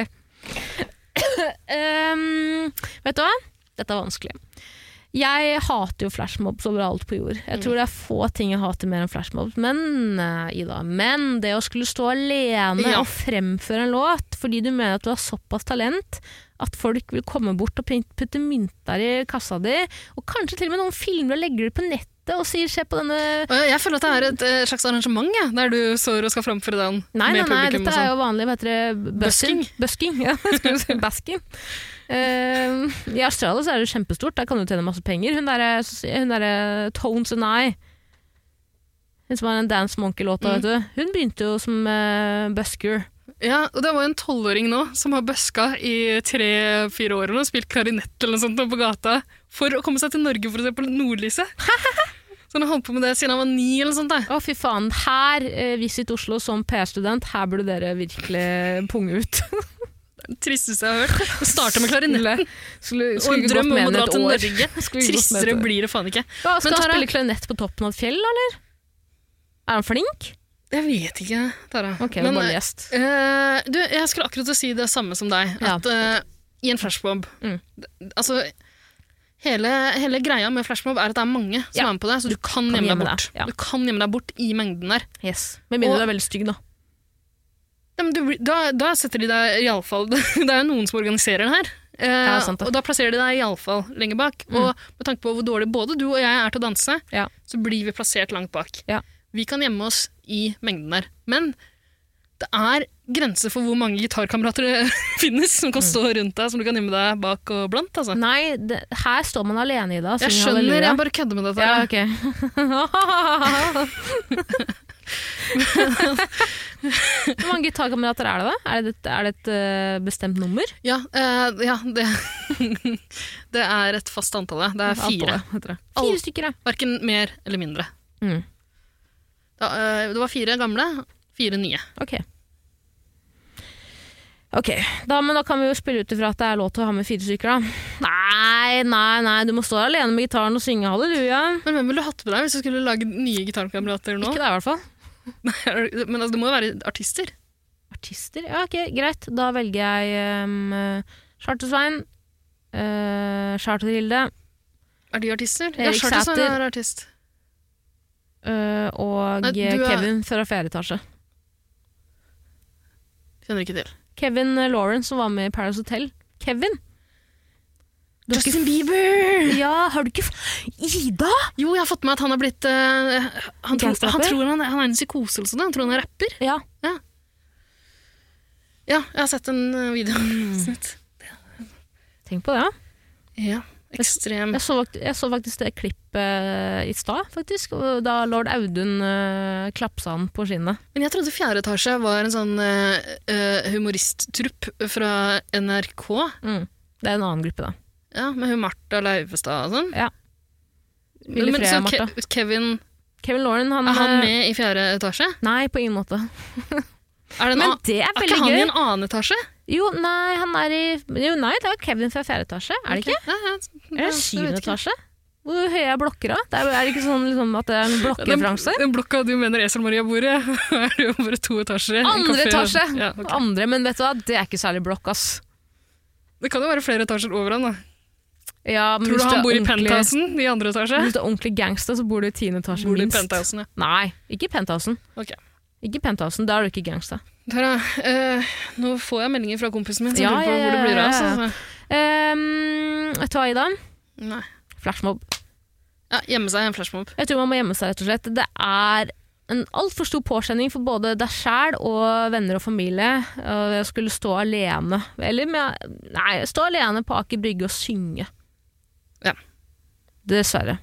Ehm, vet du hva? Dette er vanskelig. Jeg hater jo flashmob overalt på jord. Jeg tror det er få ting jeg hater mer enn flashmob. Men eh, Ida, men det å skulle stå alene Ja. og fremføre en låt fordi du mener at du har såpass talent at folk vil komme bort og pin- putte mynter i kassa di, og kanskje til og med noen filmer og legger det på nettet og sier 'se på denne' Og jeg føler at det er et eh, slags arrangement ja, der du står og skal framføre den Nei, nei, nei, med publikum. sånn. dette er jo vanlig hva heter det? Busking. Busking, ja. jeg skulle si Basking. Eh, I Australia så er det kjempestort, der kan du tjene masse penger. Hun der, er- hun der er Tones and I, hun som har den Dance Monkey-låta, Mm. vet du. Hun begynte jo som eh, busker. Og sånn. Ja, og det var jo en tolvåring nå som har bøska i tre-fire år og spilt klarinett eller noe sånt på gata for å komme seg til Norge for å se på nordlyset. Så han har holdt på med det siden han var ni eller sånt. Da. Å, fy faen. Her, eh, Visit Oslo som PR-student, her burde dere virkelig punge ut. Det tristeste jeg har hørt. Å starte med klarinett. Skulle, Og en ikke gått med drøm om å henne dra et til år. Skulle Norge. ikke gått med Tristere et år. blir det faen ikke. Ja, Skal han Men Tara- spille klarinett på toppen av et fjell, eller? Er han flink? Jeg vet ikke, Tara. Ok, Men, bare eh, lest. Eh, du, jeg skulle akkurat til å si det samme som deg. Ja. At eh, i en flashmob Mm. d- Altså, hele, hele greia med flashmob er at det er mange som Ja. er med på det, så du kan gjemme deg bort. ja. Du kan gjemme deg bort i mengden der. Yes. Med mindre Og- du er veldig stygg, da. Ja, men du, blir- da, da setter de deg iallfall Det er jo noen som organiserer den her. Eh, Ja, sant det. og da plasserer de deg iallfall lenger bak. Mm. Og med tanke på hvor dårlig både du og jeg er til å danse, Ja. så blir vi plassert langt bak. Ja. Vi kan gjemme oss i mengden der. Men det er grenser for hvor mange gitarkamerater det finnes som Mm. kan stå rundt deg, som du kan gjemme deg bak og blant. Altså. Nei, det, her står man alene i det. Jeg skjønner, jeg bare kødder med dette. ja, her. ok. Hvor mange gitarkamerater er det, da? Er det, et- er det et eh, bestemt nummer? Ja, eh, ja det, det er et fast antall. ja. Det er fire. Antallet, heter det. Alle- Fire stykker, ja. Verken mer eller mindre. Mm. Da, eh, det var fire gamle, fire nye. Ok. Ok, da, men da kan vi jo spille ut ifra at det er lov til å ha med fire stykker, da. Nei, nei, nei, du må stå alene med gitaren og synge halleluja. Men hvem ville du hatt med deg hvis du skulle lage nye gitarkamerater nå? Ikke det, i hvert fall. Men altså, det må jo være artister. Artister? Ja, ok, greit. Da velger jeg um, Charter-Svein, eh, Charter-Hilde Er de artister? Erik ja, Charter Svein Sæther. er artist. eh, og Nei, du er- Kevin fra fjerde etasje. Kjenner ikke til. Kevin Lauren som var med i Paris Hotel. Kevin? Du har ikke- Justin Bieber! Ja, har du ikke f- Ida! Jo, jeg har fått med at han har blitt eh, han, tror, Gangsterrapper? han tror han, han er en psykose eller sånn. Han tror han er rapper. Ja. Ja, jeg har sett en eh, video. Mm. Snitt. Tenk på det. ja. Ja, ekstrem. Jeg så, fakt- jeg så faktisk det klippet eh, i stad, faktisk. og Da lord Audun eh, klapsa han på skinnet. Men jeg trodde Fjerde etasje var en sånn eh, eh, humoristtrupp fra NRK. Det er en annen gruppe, da. Ja, Med hun Martha Leivestad og sånn. Ja. Lille Men, men Freya så og Ke Martha. Kevin, Kevin Lauren, han, er han eh, med i fjerde etasje? Nei, på ingen måte. Er, det en Men an- det er er veldig ikke han i gøy. en annen etasje? Jo, nei, han er i Jo, nei, det er Kevin fra fjerde etasje, er det ikke? Ja, ja, Eller er det jeg syvende vet ikke. etasje? Hvor høye er blokker, da? Det er, er det ikke sånn liksom, at det er en blokkreferanse? Den blokka du mener Esel Maria bor i, er jo bare to etasjer. En Andre kafé. etasje! Ja, ok. Andre, men vet du hva, det er ikke særlig blokk, ass. Det kan jo være flere etasjer over han. da. Ja, men Tror du hvis han er bor i ordentlig- penthousen i andre etasje? Hvis du er ordentlig gangster, så bor du i tiende etasje Bor du i minst. penthousen, ja. Nei, ikke i penthousen. Ok. Ikke i penthousen, da er du ikke gangster. Tara, eh, nå får jeg meldinger fra kompisen min som Ja, lurer på ja, hvor det blir av. ja, ja. så- Um, vet du hva, Ida? Nei. Flashmob. Ja, gjemme seg i en flashmob. Jeg tror man må gjemme seg, rett og slett. Det er en altfor stor påkjenning for både deg sjæl og venner og familie øh, å skulle stå alene. Eller med, nei, stå alene på Aker Brygge og synge. Ja. Dessverre.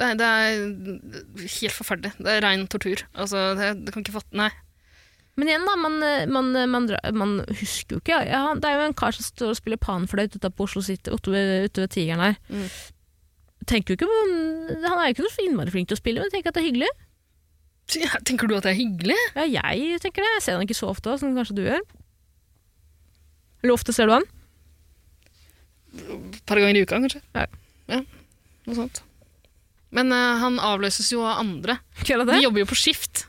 Det, er- det er helt forferdelig. Det er rein tortur. Altså, det, det kan ikke fatte Nei. Men igjen, da, man, man, man, dra- man husker jo ikke. Ja, det er jo en kar som står og spiller panfløyt ute på Oslo City, ute ved, ute ved Tigeren her. Tenker jo ikke på, Han er jo ikke noe så innmari flink til å spille, men tenker at det er hyggelig. Så, ja, Tenker du at det er hyggelig? Ja, jeg tenker det. Jeg ser han ikke så ofte, som kanskje du gjør. Eller ofte ser du han? Et par ganger i uka, kanskje? Ja. Ja, Noe sånt. Men eh, han avløses jo av andre. Gjør han De det? jobber jo på skift.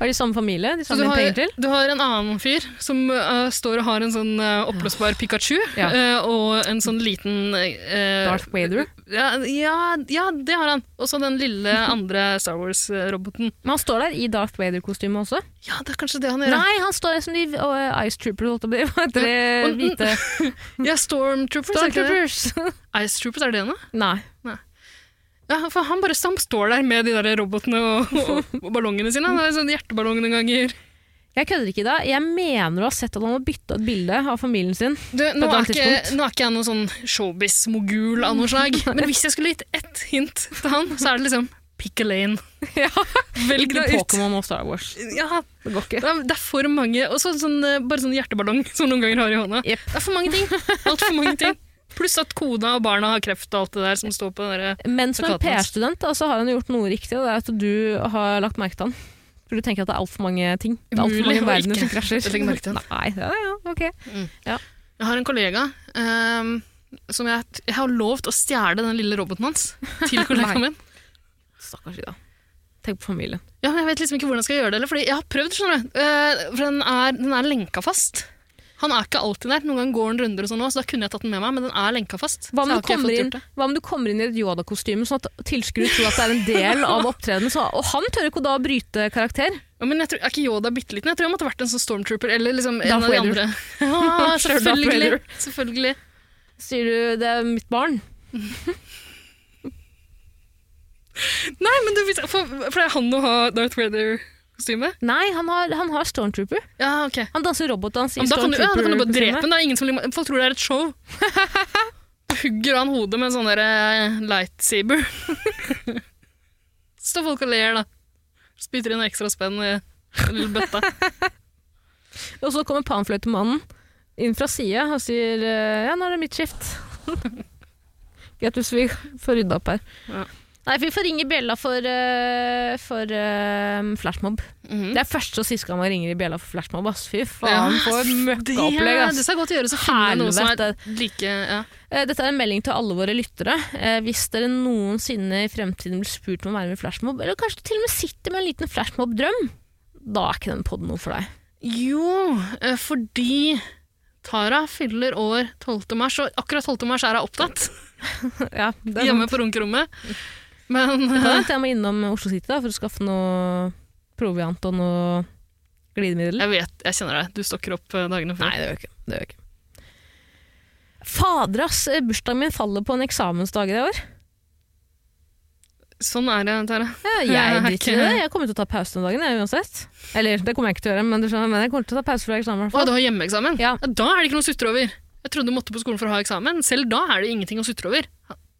Er de samme familie? De Så du samme har, penger til? du har en annen fyr som eh, står og har en sånn eh, oppblåsbar Pikachu Ja. eh, og en sånn liten eh, Darth Vader. Ja, ja, ja, det har han. Og så den lille andre Star Wars-roboten. Men han står der i Darth Vader-kostyme også. Ja, det er kanskje det han gjør. Nei, han står der som de og, eh, Ice Troopers, holdt jeg på å si. Hva heter de Og- hvite Ja, Stormtroopers. er Star ikke det? Troopers? Ice Troopers, er det det nå? Nei. Ja, for han bare han står der med de der robotene og, og, og ballongene sine. Han har en sånn hjerteballong noen ganger. Jeg kødder ikke, da. Jeg mener å ha sett at han har bytta et bilde av familien sin. Du, På et nå, er ikke, annet tidspunkt. nå er ikke jeg noen sånn showbiz-mogul av noe slag, men hvis jeg skulle gitt ett hint til han, så er det liksom pick a lane. Ja, Velg Ikke deg ut. Pokémon og Star Wars. Ja, Det går det ikke. er, det er for mange. Og så sånn, eh, bare sånn hjerteballong som noen ganger har i hånda. Jep. Det er for mange ting. Altfor mange ting. Pluss at kona og barna har kreft og alt det der som står på den derre Men som en Plakaten hans. PR-student da, så har han gjort noe riktig, og det er at du har lagt merke til han. For du tenker at det er altfor mange ting. Det er alt for Umulig mange å verdener ikke som krasjer. legge merke til han. Nei, ja, ja, ok. Jeg har en kollega ehm, som jeg, jeg har lovt å stjele den lille roboten hans til kollegaen min. Stakkars Ida. Tenk på familien. Ja, men Jeg vet liksom ikke hvordan jeg skal gjøre det, eller, fordi jeg har prøvd, skjønner du. Eh, for den er, den er lenka fast. Han er ikke alltid der. Noen ganger går han runder og sånn også, så da kunne jeg tatt den med meg, men den er lenka fast. Hva om, Så du jeg har ikke kommer fått inn, gjort det. hva om du kommer inn i et Yoda-kostyme, sånn at tilskuere tror at det er en del av opptredenen? så- Og han tør ikke å da bryte karakter. Ja, men jeg tror, er ikke Yoda bitte liten? Jeg tror jeg måtte vært en sånn stormtrooper eller liksom en Darth av de Vader. andre. Ja, Tror du Darth selvfølgelig. Vader? selvfølgelig. Sier du 'det er mitt barn'? Nei, men du, hvis- for, for det er han å ha Darth Vader-kostyme? Nei, han har, han har stormtrooper. Ja, ok. Han danser robotdans i Ja, men da, kan du, ja, da kan du bare stormtrooper-kostyme. drepe den. da. Ingen som, liker- folk tror det er et show. Da Hugger han hodet med en sånn der eh, lightsaber. Så står folk og ler, da. Spytter inn ekstra spenn i den lille bøtta. Og så kommer panfløytemannen inn fra sida og sier eh, ja, nå er det mitt skift. Greit hvis vi får rydda opp her. Ja. Nei, for vi får ringe bjella for, eh, for eh, flashmob. Det er første og siste gang man ringer i bjella for flashmob. Ass. Fy faen, for et møkkaopplegg. Det, ass. eh, det skal godt gjøres å finne noe som er Helvete. like ja. Eh, Dette er en melding til alle våre lyttere. Eh, Hvis dere noensinne i fremtiden blir spurt om å være med i flashmob, eller kanskje du til og med sitter med en liten flashmob-drøm, da er ikke den podden noe for deg. Jo, eh, fordi Tara fyller år 12. mars, og akkurat 12. mars er hun opptatt Ja, det er hjemme på runkerommet. Men Kan eh, hende jeg må innom Oslo City da, for å skaffe noe proviant og noe glidemiddel. jeg vet, jeg kjenner deg. Du stokker opp eh, dagene før. Nei, det gjør jeg ikke. Det gjør jeg ikke. Fader, ass! eh, Bursdagen min faller på en eksamensdag i år. Sånn er det, Tara. Ja, Jeg jeg er driter i ikke- det. Jeg kommer til å ta pause den dagen, jeg, uansett. Eller, det kommer jeg ikke til å gjøre, men du skjønner, men jeg kommer til å ta pause fra eksamen. i hvert Å, fall. du har hjemmeeksamen? Ja. Da er det ikke noe å sutre over. Jeg trodde du måtte på skolen for å ha eksamen. Selv da er det ingenting å sutre over.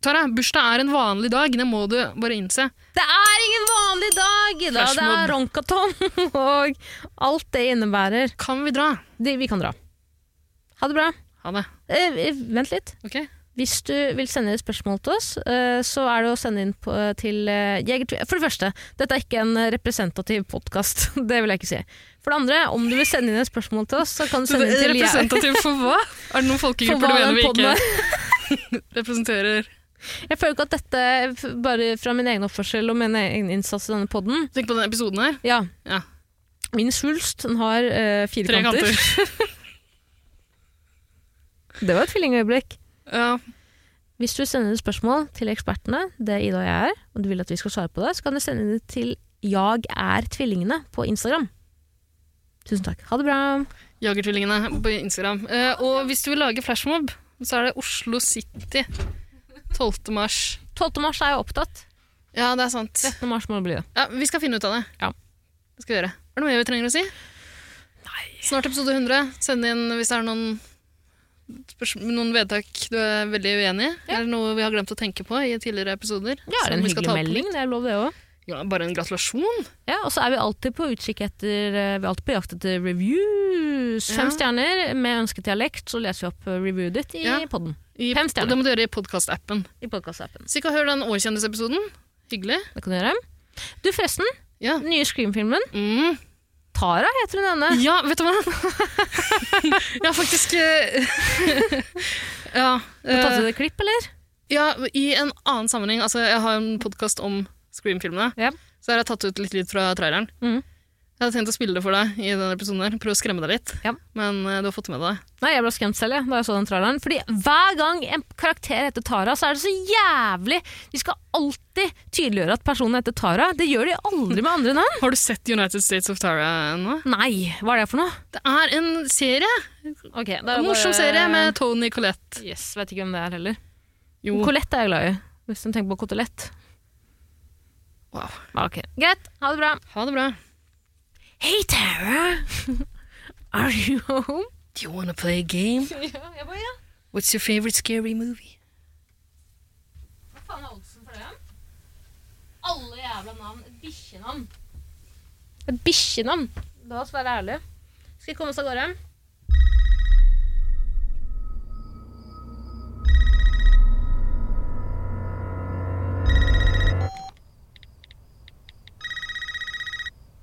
Tara, bursdag er en vanlig dag. Det må du bare innse. Det er ingen vanlig dag! Da. Det er Flashmob. ronkaton og alt det innebærer. Kan vi dra? Det, vi kan dra. Ha det bra. Ha det. Eh, eh, vent litt. Ok? Hvis du vil sende inn spørsmål til oss, eh, så er det å sende inn på, til eh, Jegertvil... For det første, dette er ikke en eh, representativ podkast. Det vil jeg ikke si. For det andre, om du vil sende inn et spørsmål til oss, så kan du sende inn til jeg- Representativ for hva? Er det noen For hva folkegrupper du mener den vi podden ikke representerer? Jeg føler ikke at dette, f- bare fra min egen oppførsel og min egen innsats i denne podden Tenk på denne episoden her. ja. Ja. Min svulst den har eh, fire Tre kanter. kanter. Det var et tvillingøyeblikk. Ja. Hvis du sender inn spørsmål til ekspertene, det Ida og jeg er, og du vil at vi skal svare på det, så kan du sende det til Jeg er tvillingene på Instagram. Tusen takk. Ha det bra. Jagertvillingene på Instagram. Eh, og hvis du vil lage flashmob, så er det Oslo City 12. mars. 12. mars er jeg opptatt. Ja, det er sant. 13. mars må det bli det. Ja, vi skal finne ut av det. Ja. Det skal vi gjøre. Er det noe mer vi trenger å si? Nei. Snart episode 100. Send inn hvis det er noen, spørsm- noen vedtak du er veldig uenig i. Eller noe vi har glemt å tenke på i tidligere episoder. Ja, det er som en vi skal hyggelig ta opp. melding, det er lov det òg. Ja, bare en gratulasjon. Ja, og så er vi alltid på utkikk etter eh, Vi er alltid på jakt etter reviews. Fem Ja. stjerner med ønsket dialekt, så leser vi opp eh, reviewet ditt i Ja. podden. I, Fem stjerner. Det må du gjøre i podkastappen. I podkastappen. Så ikke hør den Årkjendisepisoden. Hyggelig. Det kan du gjøre. Du, forresten. Ja. Den nye Scream-filmen. Mm. Tara heter hun ene. Ja, vet du hva? ja, faktisk eh, ja, Har du tatt eh, ut et klipp, eller? ja, i en annen sammenheng. Altså, jeg har en podkast om Scream-filmene. Ja. Så her har jeg tatt ut litt lyd fra traileren. Mhm. Jeg hadde tenkt å spille det for deg i denne episoden her, prøve å skremme deg litt. Ja. Men eh, du har fått med deg det. Nei, jeg ble skremt selv jeg, da jeg så den traileren. Fordi hver gang en karakter heter Tara, så er det så jævlig De skal alltid tydeliggjøre at personen heter Tara. Det gjør de aldri med andre navn. Har du sett United States of Tara ennå? Nei, hva er det for noe? Det er en serie! Okay, det er En morsom bare- serie med Tony Collette. Yes, Vet ikke hvem det er heller. Jo. Colette er jeg glad i. Hvis du tenker på kotelett. Wow. Ja, Ok, Greit, ha det bra. Ha det bra. Hei, Tara! Are you home? Do you wanna play a game? What's your favorite scary movie? Hva faen er oddsen for det? Alle jævla navn. Et bikkjenavn. Et bikkjenavn. La oss være ærlige. Skal vi komme oss av gårde? This isn't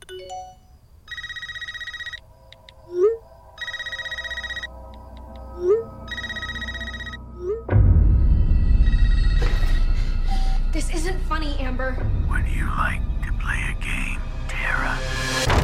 funny, Amber. Would you like to play a game, Tara?